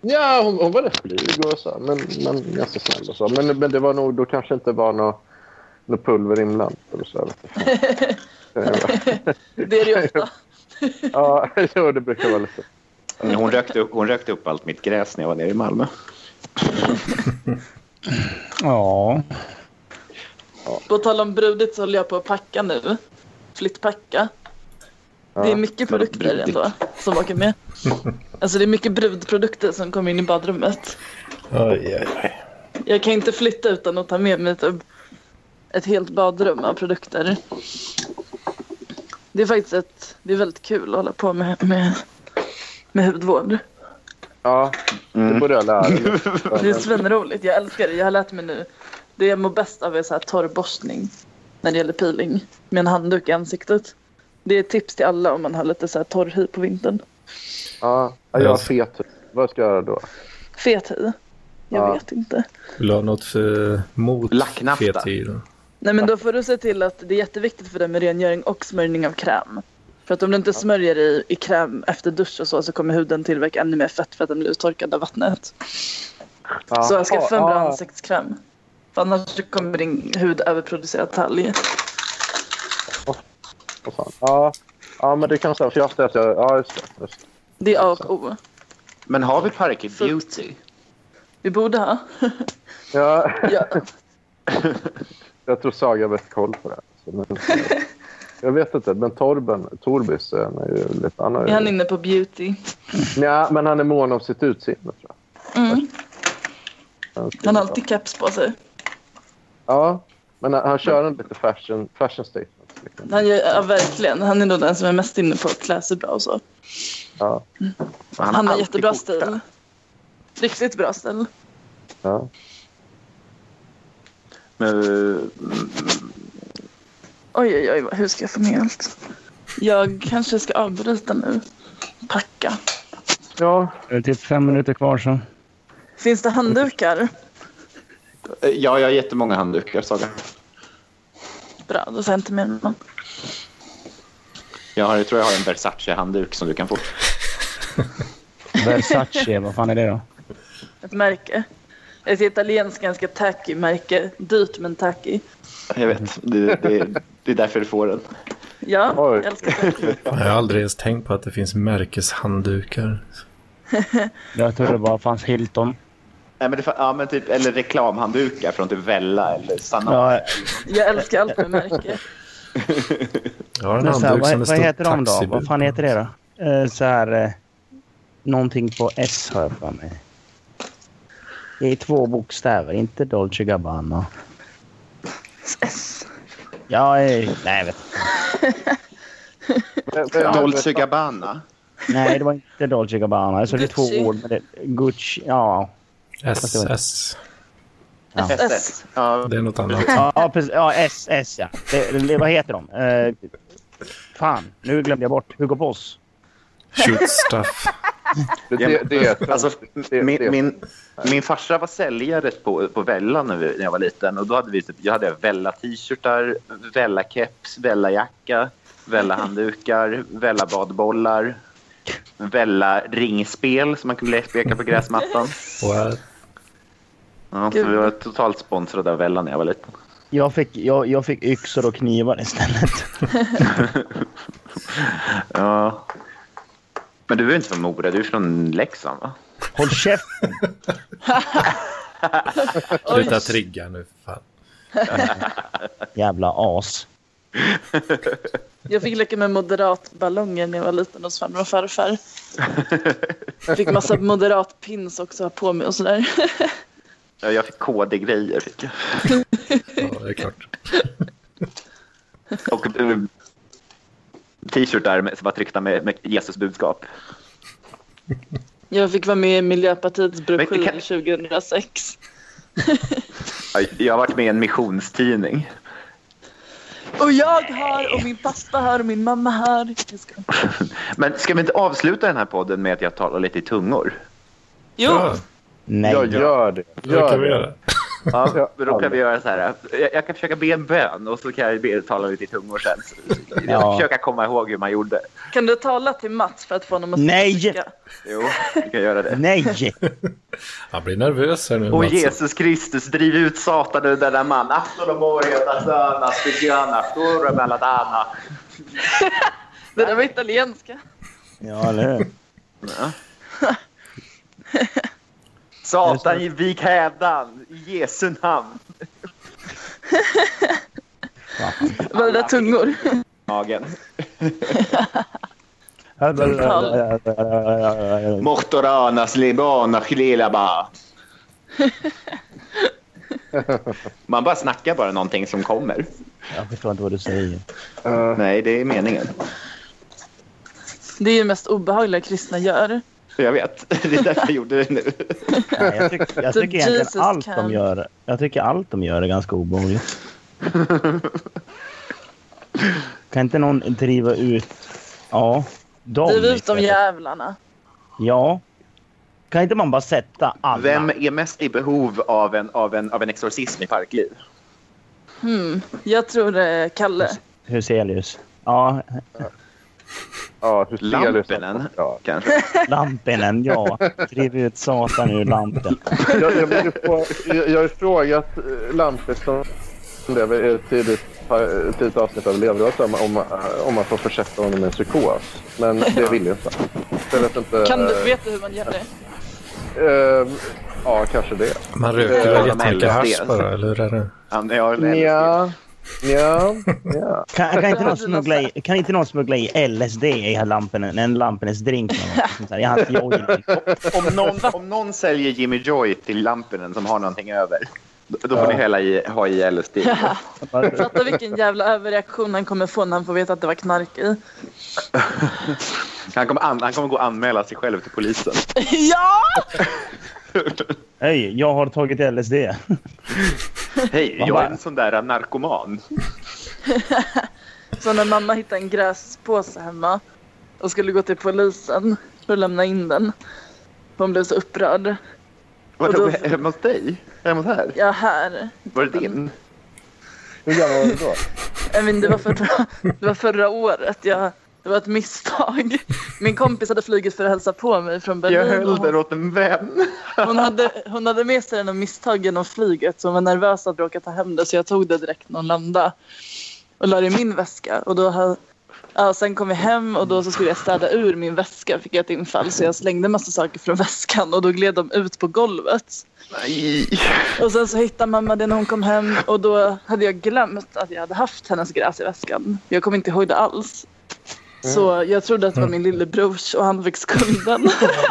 ja, hon, hon var rätt blyg och så. här, Men, men ganska snäll och så. Men, men det var nog, då kanske inte var något nå pulver inblandat. eller så. jag vet inte.
Det är det ju ofta.
ja, jo, det brukar vara lite.
Men Hon rökte, upp, hon rökte upp allt mitt gräs när jag var nere i Malmö.
Ja.
På tal om brudigt så håller jag på att packa nu. Flyttpacka. det är mycket
men
produkter
brudigt.
ändå som åker med. Alltså det är mycket brudprodukter som kommer in i badrummet.
Oj, oj, oj.
Jag kan inte flytta utan att ta med mig typ ett helt badrum av produkter. Det är faktiskt ett, det är väldigt kul att hålla på med, med, med hudvård.
Ja,
Mm.
det borde jag lära mig.
Det är svinroligt. Jag älskar det. Jag har lärt mig nu. Det jag mår bäst av är så här torrborstning när det gäller peeling med en handduk i ansiktet. Det är ett tips till alla om man har lite så här torr hy på vintern.
Ja, jag har fet Vad ska jag göra då?
Fet hy? Jag
Ja.
vet inte.
Vill du ha något för mot
Lacknafta.
fethy då?
Nej men då får du se till att det är jätteviktigt för dig med rengöring och smörjning av kräm. För att om du inte smörjer i, i kräm efter dusch och så så kommer huden tillverka ännu mer fett för att den blir uttorkad av vattnet.
Ja.
Så jag skaffar en
Ja,
bra
ja.
ansiktskräm. För annars kommer din hud överproducera talg.
Vad fan. Ja, ja, men det kan vara För jag har jag... Ja, just det. Just det.
Det är A och O.
Men har vi Parker Beauty?
Vi borde ha.
Ja,
Ja.
Jag tror Saga har bäst koll på det här. Så, men, jag vet inte, men Torben, Torbis, eh, han är ju lite... Han är
Är
ju,
han inne på beauty?
Nja, men han är mån om sitt utseende, tror jag.
Mm.
Han,
Han har alltid keps på sig.
Ja, men han, han kör en lite fashion, fashion statement. Liksom.
Han gör, ja, verkligen. Han är nog den som är mest inne på att klä sig bra och så.
Ja,
Han, har
alltid
jättebra
korta.
stil. Riktigt bra stil.
ja.
Men, mm,
Oj, oj, oj, hur ska jag få med allt? Jag kanske ska avbryta nu. Packa.
ja,
Det är typ fem minuter kvar så.
Finns det handdukar?
Eh, ja, jag har jättemånga handdukar, Saga.
Bra, då säger jag inte mer än någon.
Jag, har, jag tror jag har en Versace-handduk som du kan få.
Versace, vad fan är det då?
Ett märke. Ett italienskt ganska tacky märke. Dyrt men tacky.
Jag vet. Det, det, det är därför du får den.
Ja,
Oj.
jag älskar tacky.
Jag har aldrig ens tänkt på att det finns märkeshanddukar.
Jag trodde det bara fanns Hilton.
Nej, men det, ja, men typ, eller reklamhanddukar från typ Vella eller Sanna.
Ja,
Jag älskar allt med märke.
Jag har en
men så här,
handduk
vad,
som det
vad
står
heter de då?
taxibud
Vad fan
på.
heter det då? Eh, så här... Eh, någonting på S har jag för mig. Det är två bokstäver, inte Dolce Gabbana.
S.
Ja, eh, nej, jag vet.
men, men,
Dolce Gabbana.
nej, det var inte Dolce Gabbana. Alltså, det är
Gucci.
två ord. Men det, Gucci, ja.
SS.
Ja.
SS.
Ja,
Det är något annat.
Ja, precis. Ja, S, S ja. Det, det, vad heter de? Eh, fan, nu glömde jag bort. Hugo Boss.
Shoot stuff.
Det, det, det, är ett-
Alltså,
det-
min,
det-
min, min farsa var säljare på, på Vella när, vi, när jag var liten. Och då hade vi typ, jag hade Vella-t-shirtar, Vella-keps, Vella-jacka, Vella-handdukar, Vella-badbollar, Vella-ringspel som man kunde le- leka på gräsmattan.
What?
Ja, så vi var totalt sponsrade av Vella när jag var liten.
Jag fick, jag, jag fick yxor och knivar istället.
Ja. Men du är inte från Mora, du är från Leksand va?
Håll käften!
Sluta trigga nu för fan.
Jävla as.
Jag fick leka med moderatballonger när jag var liten hos farmor och farfar. Jag fick massa moderatpins också att ha på mig och sådär.
Ja, jag fick KD-grejer. Fick jag.
Ja, det är klart.
Och eh, t-shirtar med- som var tryckta med, med Jesus budskap.
Jag fick vara med i Miljöpartiets broschyr
kan-
2006.
Ja, Jag har varit med i en missionstidning.
Och jag hör och min pappa hör och min mamma hör. Jag ska...
Men ska vi inte avsluta den här podden med att jag talar lite i tungor?
Jo,
Ja,
Nej.
Jag gör det.
det
Gör
kan vi
det.
göra.
Ja, då kan vi göra så här. Jag, jag kan försöka be en bön och så kan jag be, tala lite i tungor sen. Jag ska
Ja.
försöka komma ihåg hur man gjorde.
kan du tala till Mats för att få honom att
Nej!
skrika?
Jo, vi kan göra det.
Nej!
Han blir nervös här nu.
Och
Mats.
Jesus Kristus, driv ut Satan ur denna man. Aftonomorieta söna, styggöna, stora mellatana.
Det där var italienska.
Ja, eller hur?
Satan, vik hädan, i Jesu namn.
Fan.
Var det där tungor?
Magen. Mortoranas libana chililaba. Man bara snackar bara någonting som kommer.
Jag förstår inte vad du säger.
Nej, det är meningen.
Det är ju det mest obehagliga kristna gör.
Jag vet. Det är därför jag gjorde det nu.
Nej, jag tycker, jag
The
tycker egentligen
Jesus
allt
can.
de gör. Jag tycker allt de gör är ganska obehagligt. Kan inte någon driva ut... Ja. Dem,
Driv ut de
istället.
jävlarna.
Ja. Kan inte man bara sätta alla?
Vem är mest i behov av en, av en, av en exorcism i parkliv?
Hmm. Jag tror det är Kalle.
Huselius. Ja,
Ja, hur
Lampinen,
Ja.
kanske.
Lampinen, ja. Driv ut Satan ur lampen.
Jag, jag, vill ju få, jag, jag har ju frågat eh, Lampis som lever i ett tidigt, ett tidigt avsnitt av Levrötan om, eh, om man får försätta honom i en psykos. Men det vill jag inte. Jag vet inte.
Kan du,
eh,
vet du hur man gör det?
eh, ja, kanske det.
Man röker
Eh,
väl jättemycket
LSD.
hasch bara, eller hur är det?
Han är en
Nja, nja, nja.
Kan, kan, inte
Hade
någon
du
smuggla
något
i, kan inte någon smuggla i LSD i Lampinen? En Lampinens drink eller något sånt där. Jag har haft jojo.
Om någon, om någon säljer Jimmy Joy till Lampinen som har någonting över, då, då får ni hälla i, ha i LSD.
Fatta vilken jävla överreaktion han kommer få när han får veta att det var knark i.
Han kommer, an, han kommer gå och anmäla sig själv till polisen.
ja!
Hej, jag har tagit LSD.
Hej,
Man
jag
bara-
är en sån där narkoman.
Så när mamma hittade en gräspåse hemma och skulle gå till polisen för att lämna in den. Hon blev så upprörd.
Vadå,
Och då-
är det hemma hos dig? Är det hemma hos här?
Ja, här.
Var det din?
Hur gammal var du då?
Jag men det, var förra, det var förra året. Jag, det var ett misstag. Min kompis hade flugit för att hälsa på mig från
Jag
Berlin. och
höll
Hon,
den åt en vän.
hon, hade, hon hade med sig den av misstag genom flyget. Så hon var nervös att råka ta hem det. Så jag tog det direkt när hon landade. Och la det i min väska. Och då, ha- ja, sen kom vi hem och då så skulle jag städa ur min väska. Fick jag ett infall. Så jag slängde massa saker från väskan. Och då gled de ut på golvet.
Nej.
Och sen så hittade mamma det när hon kom hem och då hade jag glömt att jag hade haft hennes gräs i väskan. Jag kom inte ihåg det alls. Så jag trodde att det var min lillebrors och han fick skulden.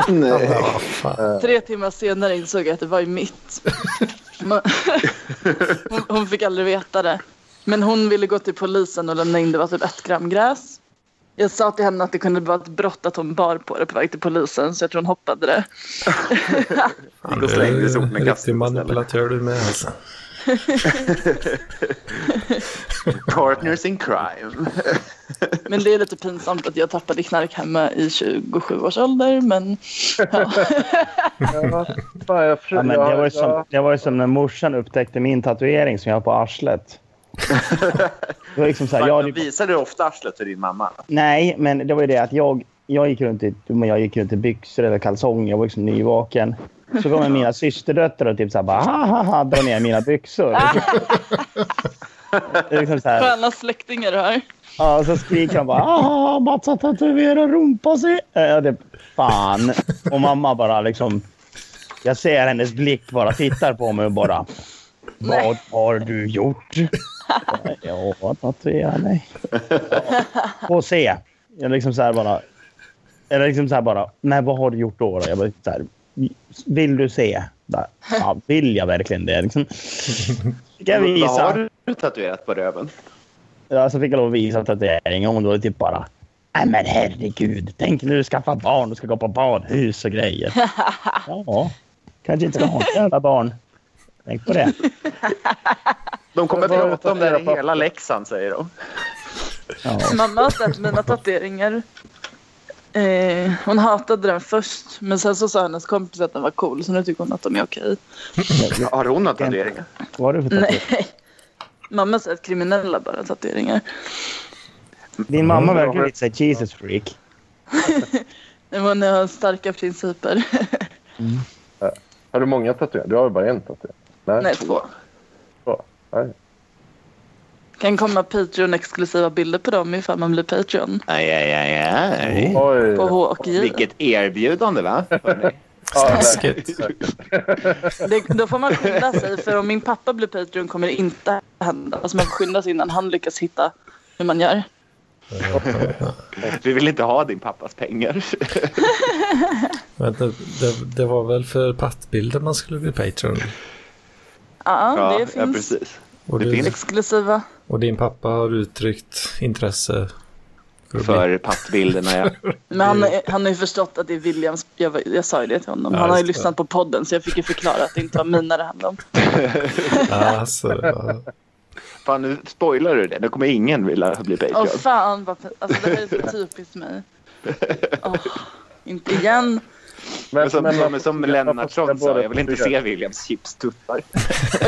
Nej.
Ja, fan.
Tre timmar senare insåg jag att det var ju mitt. Men- Hon, hon fick aldrig veta det. Men hon ville gå till polisen och lämna in det var typ ett gram gräs. Jag sa till henne att det kunde vara ett brott att hon bar på det på väg till polisen så jag tror hon hoppade det.
Han
Gick och slängde
är
soporna i
en
kassan
riktig
istället.
manipulatör du med alltså.
Partners in crime.
Men det är lite pinsamt att jag tappade knark hemma i 27 års ålder. Men ja.
Ja, fan, jag
Ja, men
jag-
det, var ju
jag-
som, det var ju som när morsan upptäckte min tatuering som jag har på arslet. det var liksom så här,
Fan,
jag,
de
hade-
visar du ofta arslet till din mamma?
nej, men det var ju det att jag, jag, gick runt i, men jag gick runt i byxor eller kalsonger. Jag var liksom nyvaken. Så kommer mina systerdöttrar och typ så här bara, ha, ha, ha, drar ner mina byxor. Det är liksom så här,
Sköna släktingar du har.
ja, så skriker de bara ha, ha, ha, Mats har tatuerat rumpa sig. Ja, det, fan. Och mamma bara liksom... Jag ser hennes blick bara tittar på mig och bara... Vad har du gjort? Jag har tatuerat dig. Få se. Jag liksom så här bara... Eller liksom så här bara... Nej, vad har du gjort då? då? Jag bara så här... Vill du se? Bara, Ja, vill jag verkligen det? Liksom. Ska jag visa?
Vad har du tatuerat på röven?
Ja, så fick jag lov att visa tatueringen och hon då typ bara Nej men herregud, tänk när du skaffar barn och ska gå på badhus och grejer. Ja, kanske inte ska ha ett jävla barn. Tänk på det.
De kommer
Vad har du
prata om det här i
tatuerat på?
hela Leksand, säger de.
Ja.
Mamma har sett mina tatueringar. Eh, hon hatade den först, men sen så sa hennes kompis att den var cool, så nu tycker hon att de är okej.
Har hon några tatueringar?
Vad har du för tatuering?
Nej. Mamma säger att kriminella bara har tatueringar.
Din mamma verkar lite såhär Jesus freak.
Men Hon har starka principer.
Har du många tatueringar? Du har ju bara en tatuering?
Nej, två.
två. Nej.
Kan komma Patreon-exklusiva bilder på dem ifall man blir Patreon.
Aj, aj, aj, aj.
Oj.
På H och J.
Vilket erbjudande, va? Hörrni.
Ja,
Taskigt.
Det, då får man skynda sig, för om min pappa blir Patreon kommer det inte hända. Alltså man får skynda sig innan han lyckas hitta hur man gör.
Vi vill inte ha din pappas pengar.
Men det, det, det var väl för pattbilder man skulle bli Patreon?
Ja, det
ja,
finns
precis.
Och,
Det
du,
finns.
exklusiva.
och din pappa har uttryckt intresse för att bli...
För pappbilderna, ja.
Men han, han har ju förstått att det är Williams, jag, var- jag sa ju det till honom.
Ja,
Han har ju
just det.
lyssnat på podden så jag fick ju förklara att det inte var mina det handlade om.
Alltså, ja.
Fan, nu spoilar du det. Nu kommer ingen vilja bli
Åh
Patreon.
fan, vad, alltså, det här är så typiskt mig. Åh, inte igen.
men som,
men-
som, som Lennartsson sa,
Båda
jag vill inte se
tatueringar.
Williams chipstuttar.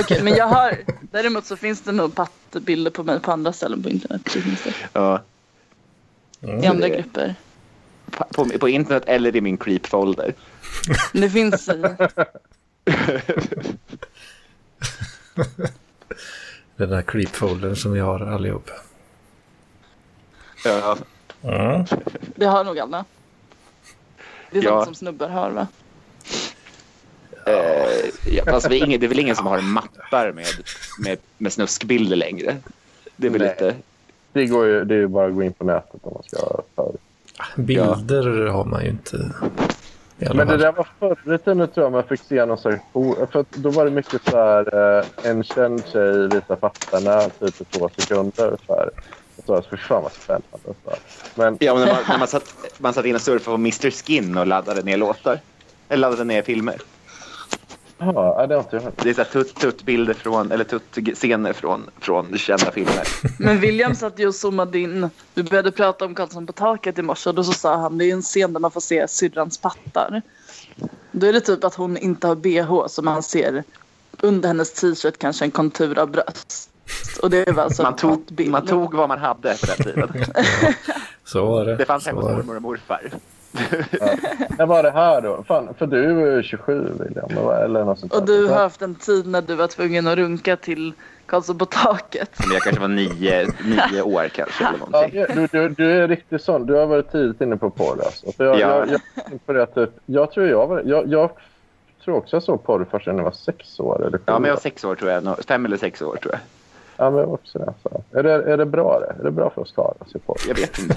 Okej, men jag har... Däremot så finns det nog pattbilder på mig på andra ställen på internet. Det finns det.
Ja.
I andra grupper.
Pa- På, på internet eller i min creep-folder.
Men Det finns eh, i...
Den där creep-foldern som vi har allihop.
Ja.
Ja.
Det har nog alla. Det är
Ja.
sånt som snubbar har va?
Eh, ja, fast vi är ingen, det är väl ingen som har mappar med, med, med snuskbilder längre? Det är väl
Nej.
lite...
Det, går ju, det är ju bara att gå in på nätet om man ska ha för.
Bilder har man ju inte. I alla
Men det
fall.
där var förr i tiden tror jag man fick se någon slags... bo- För att då var det mycket så här... eh, En känd tjej visar pattarna typ i två sekunder. Så här. Och så, fy fan vad spännande. Så här. Men
Ja, men när man, när man, satt, man satt in och surfade på Mr Skin och laddade ner låtar. Eller laddade ner filmer.
ja, nej, det har inte jag hört.
Det är så här tut- tutt-bilder från, eller tutt-scener från, från kända filmer.
Men William satt ju och zoomade in. Vi började prata om Karlsson på taket i morse och då så sa han det är en scen där man får se syrrans pattar. Då är det typ att hon inte har bh som man ser under hennes t-shirt kanske en kontur av bröst. Och det var alltså
Man
en
tog,
pattbild.
man tog vad man hade på den tiden.
Så var det.
Det fanns
så
hemma
var
hos
det.
mormor och morfar.
När var det här då? Fan, för du är ju 27 William. eller- Eller något sånt där.
Och du
Så-
har haft en tid när du var tvungen att runka till Karlsson på taket.
Men jag kanske var nio, nio år kanske eller
Ja,
någonting.
du, du, du är riktigt sån. Du har varit tidigt inne på porr. Alltså. För jag,
Ja.
jag, jag, tänkte på det, att typ, jag, tror jag, var, jag, jag tror också jag såg porr först när jag var sex år. Eller sju
Ja, men jag
år.
var sex år tror jag. Nå- Fem eller sex år tror jag.
ja, men jag var också det. Så. Är, det, är det bra det? Är det bra för oss karlar att se porr?
Jag vet inte.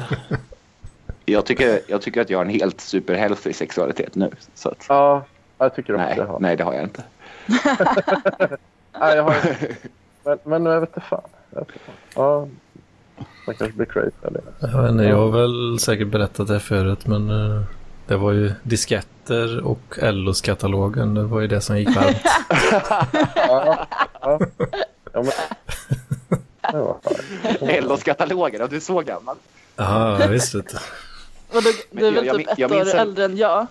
Jag tycker, jag tycker att jag har en helt superhealthy sexualitet nu. Så att,
Ja, jag tycker också
nej,
det. Har.
nej, det har jag inte.
Nej, jag har men, men jag vet inte fan. Jag vet inte fan. Ja, man kanske blir crazy eller
Jag, vet inte, jag har väl säkert berättat det här förut, men eh, det var ju disketter och LOs-katalogen. Det var ju det som gick varmt.
ja, ja.
kataloger och du är så gammal.
Ja, jag visste inte.
Och du,
Men
du är väl
jag-
typ
jag min-
ett
jag
år
minns en-
äldre än jag?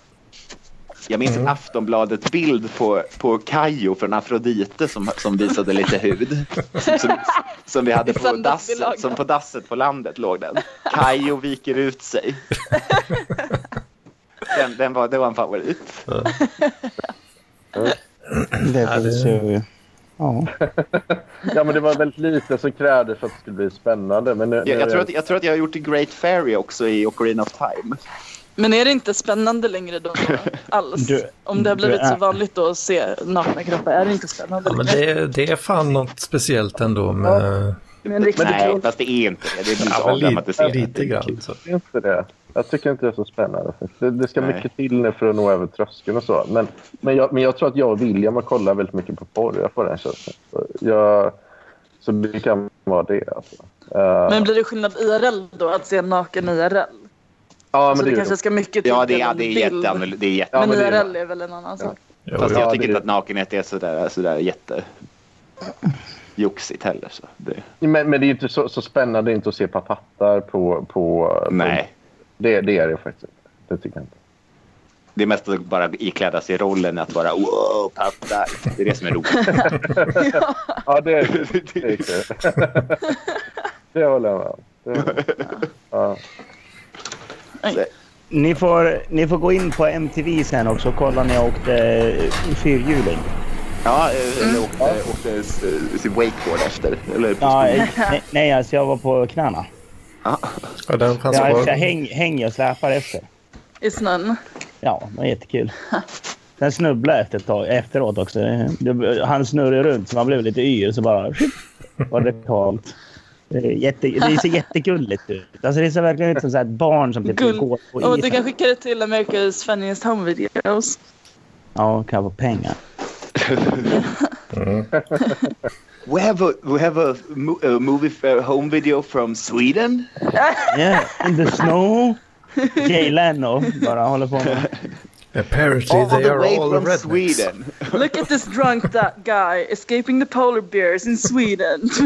Jag minns
Mm.
en Aftonbladet-bild på, på Kajo från Afrodite som, som visade lite hud. Som, som vi hade
I
på
söndagsbilagan.
dasset, som på dasset på landet låg den. Kajo viker ut sig. Den, den var, det var en favorit.
Det
Ja, det-
finns ju... Ja.
Ja, men det var väldigt lite som krävdes för att det skulle bli spännande. Men nu, nu
Jag,
är
jag, tror
det-
att, jag tror att jag har gjort Great Fairy också i Ocarina of Time.
Men är det inte spännande längre då alls?
Du-
Om det har
du
blivit
är-
så vanligt då att se nakna kroppar, är det inte spännande
Ja, men
längre?
det, det är fan något speciellt ändå med...
Med en riktig
Nej,
kropp.
fast det är inte det. Det blir så
Ja, men lite,
avdramatiserat.
lite grann. Så.
Det är inte det. Jag tycker inte det är så spännande. faktiskt. Det, det ska
Nej.
mycket till nu för att nå över tröskeln och så. Men, men, jag, men jag tror att jag och William har kollat väldigt mycket på porr. Jag får den känslan. Så, jag, så det kan vara det. Alltså. Eh,
Men blir det skillnad IRL då, att se naken IRL?
ja,
så det
är
kanske ska mycket till
Ja, det,
än
ja,
en
det är
bild.
jätteannorlunda. Det är jätte...
Ja,
men
men det är-
IRL är väl en annan sak?
Jo,
Fast
jo.
jag
Ja,
tycker
det-
inte att nakenhet är sådär, sådär jätte... joxigt heller. Så det,
men, men det är ju inte så, så spännande inte att se papattar på... på På,
nej,
det, det är det faktiskt inte. Det tycker jag inte.
det är mest att bara ikläda sig rollen att vara wow, patta. Det är det som är roligt.
Ja, det är det. Är kul. det håller jag med om. Det, ja.
Ni, får, ni får gå in på MTV sen också och kolla när jag åkte eh, fyrhjuling.
Ja, eh, eller åkte, åkte s- s- wakeboard efter. Eller,
Ja, eh, ne- nej, alltså jag var på knäna.
Ja, den fanns
Jag, jag
kvar.
häng, hänger och släpar efter.
I snön?
Ja, det var jättekul. Sen snubblade jag efter ett tag, efteråt också. Det- Han snurrade runt så man blev lite yr så bara var det kallt. Det är jätte, det ser jättegulligt ut. Alltså det ser verkligen ut som så här ett barn som typ
Gull.
går på isen.
Och du kan skicka det till America's Funniest Home Videos.
Ja, kan vara pengar.
Mm.
we have a, we have a, mo- a movie fair home video from Sweden.
Yeah, in the snow. Jay Leno bara håller på med.
Apparently they are all rednecks.
Sweden.
Look at this drunk da- guy escaping the polar bears in Sweden.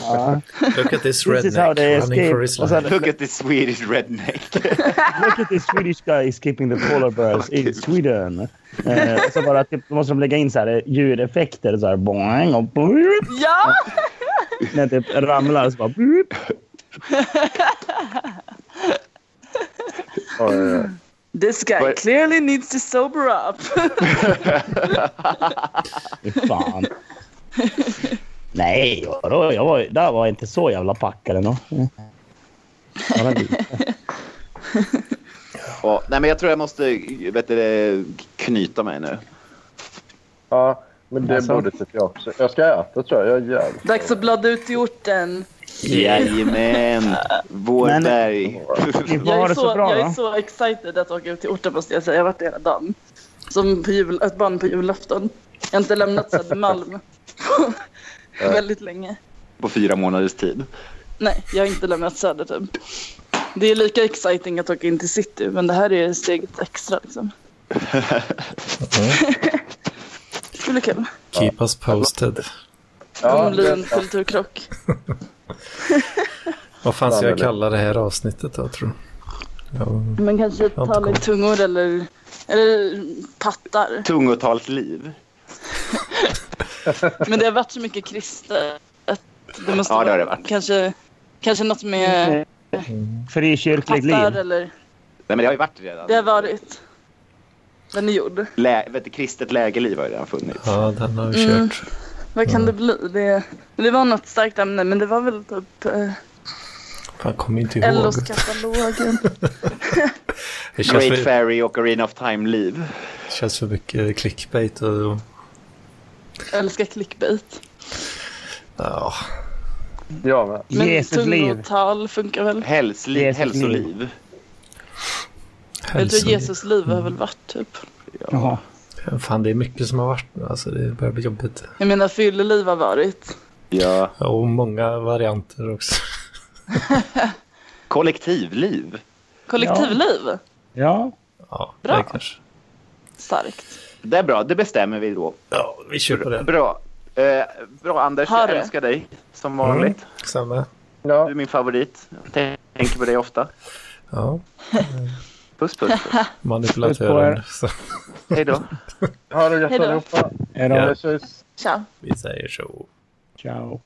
Ja.
Look at this
This is how
redneck
they
running
escape.
for his
Och sen,
life.
Look at the Swedish redneck.
Look at this Swedish guy skipping the polar bears in Sweden. Eh, så bara typ, då måste de lägga in så här eh, ljudeffekter. Så här, boing och boop.
ja!
När det ramlar så bara... Boop.
Ja, ja, ja.
This guy
Vad-
clearly needs to sober up.
Fy fan. Nej, vadå? Jag var, där var jag inte så jävla packad ändå. Ja, men det-
Ja, nej, men jag tror jag måste vet du, det, knyta mig nu.
Ja, men det
Alltså.
borde typ jag också. Jag ska äta tror jag. Jag är jävligt
Dags att blada ut hjorten.
Jajamän! Vårberg.
Ni får ha
Jag är
det så
så,
bra
jag är
då.
så excited att åka ut till orten måste jag säga. Jag har varit där hela dagen. Som på jul, ett barn på julafton. Jag har inte lämnat Södermalm på väldigt länge.
På fyra månaders tid.
Nej, jag har inte lämnat Söder typ. Det är lika exciting att åka in till city men det här är steget extra liksom. Det skulle bli kul.
Keep us posted.
Ja,
Om det blir en
det,
kulturkrock.
Vad fan ska
Ja,
jag
det-
kalla det här avsnittet då, tror du? Ja,
Men kanske
har inte
tala i
koll.
tungor eller, eller pattar.
Tungotalsliv.
Men det har varit så mycket kristet. Det måste
Ja, det har det
vara
varit.
Kanske, kanske något med
Frikyrkligt
pattar
Mm, liv.
eller...
Nej, men det har ju varit redan.
Det har varit. Den är gjord.
Lä, vet du, kristet lägerliv har ju redan funnits.
ja den har vi kört.
Vad kan det bli? Det, det var något starkt ämne men det var väl typ eh,
Fan, kommer inte ihåg.
Ellos katalogen.
Det känns
Great
för,
Fairy och Arena of Time-liv.
känns för mycket clickbait och... och
Jag älskar clickbait.
ja,
jag med.
Men
Jesus liv.
tungotal funkar väl?
Hälsliv,
Jesus
hälsoliv.
Jag
hälsoliv.
tror Jesus liv har väl varit typ.
Jaha.
Fan, det är mycket som har varit nu. Alltså, det börjar bli jobbigt.
Jag menar fylleliv har varit.
Ja.
Ja, Och många varianter också.
Kollektivliv.
Kollektivliv.
Ja.
Ja,
Bra.
det kanske.
Starkt.
Det är bra, det bestämmer vi då.
Ja, vi kör på det.
Bra. Eh, bra Anders,
Har
jag
du?
Mm.
älskar dig som vanligt.
Samma.
Ja.
Du är min favorit. Jag tänker på dig ofta.
Ja,
Puss, puss. puss.
manipulatören. Så,
Hej då.
Ha det gött
Hej då.
allihopa.
Är de...
Ja.
Vi ses.
Tja.
vi säger så.
Ciao.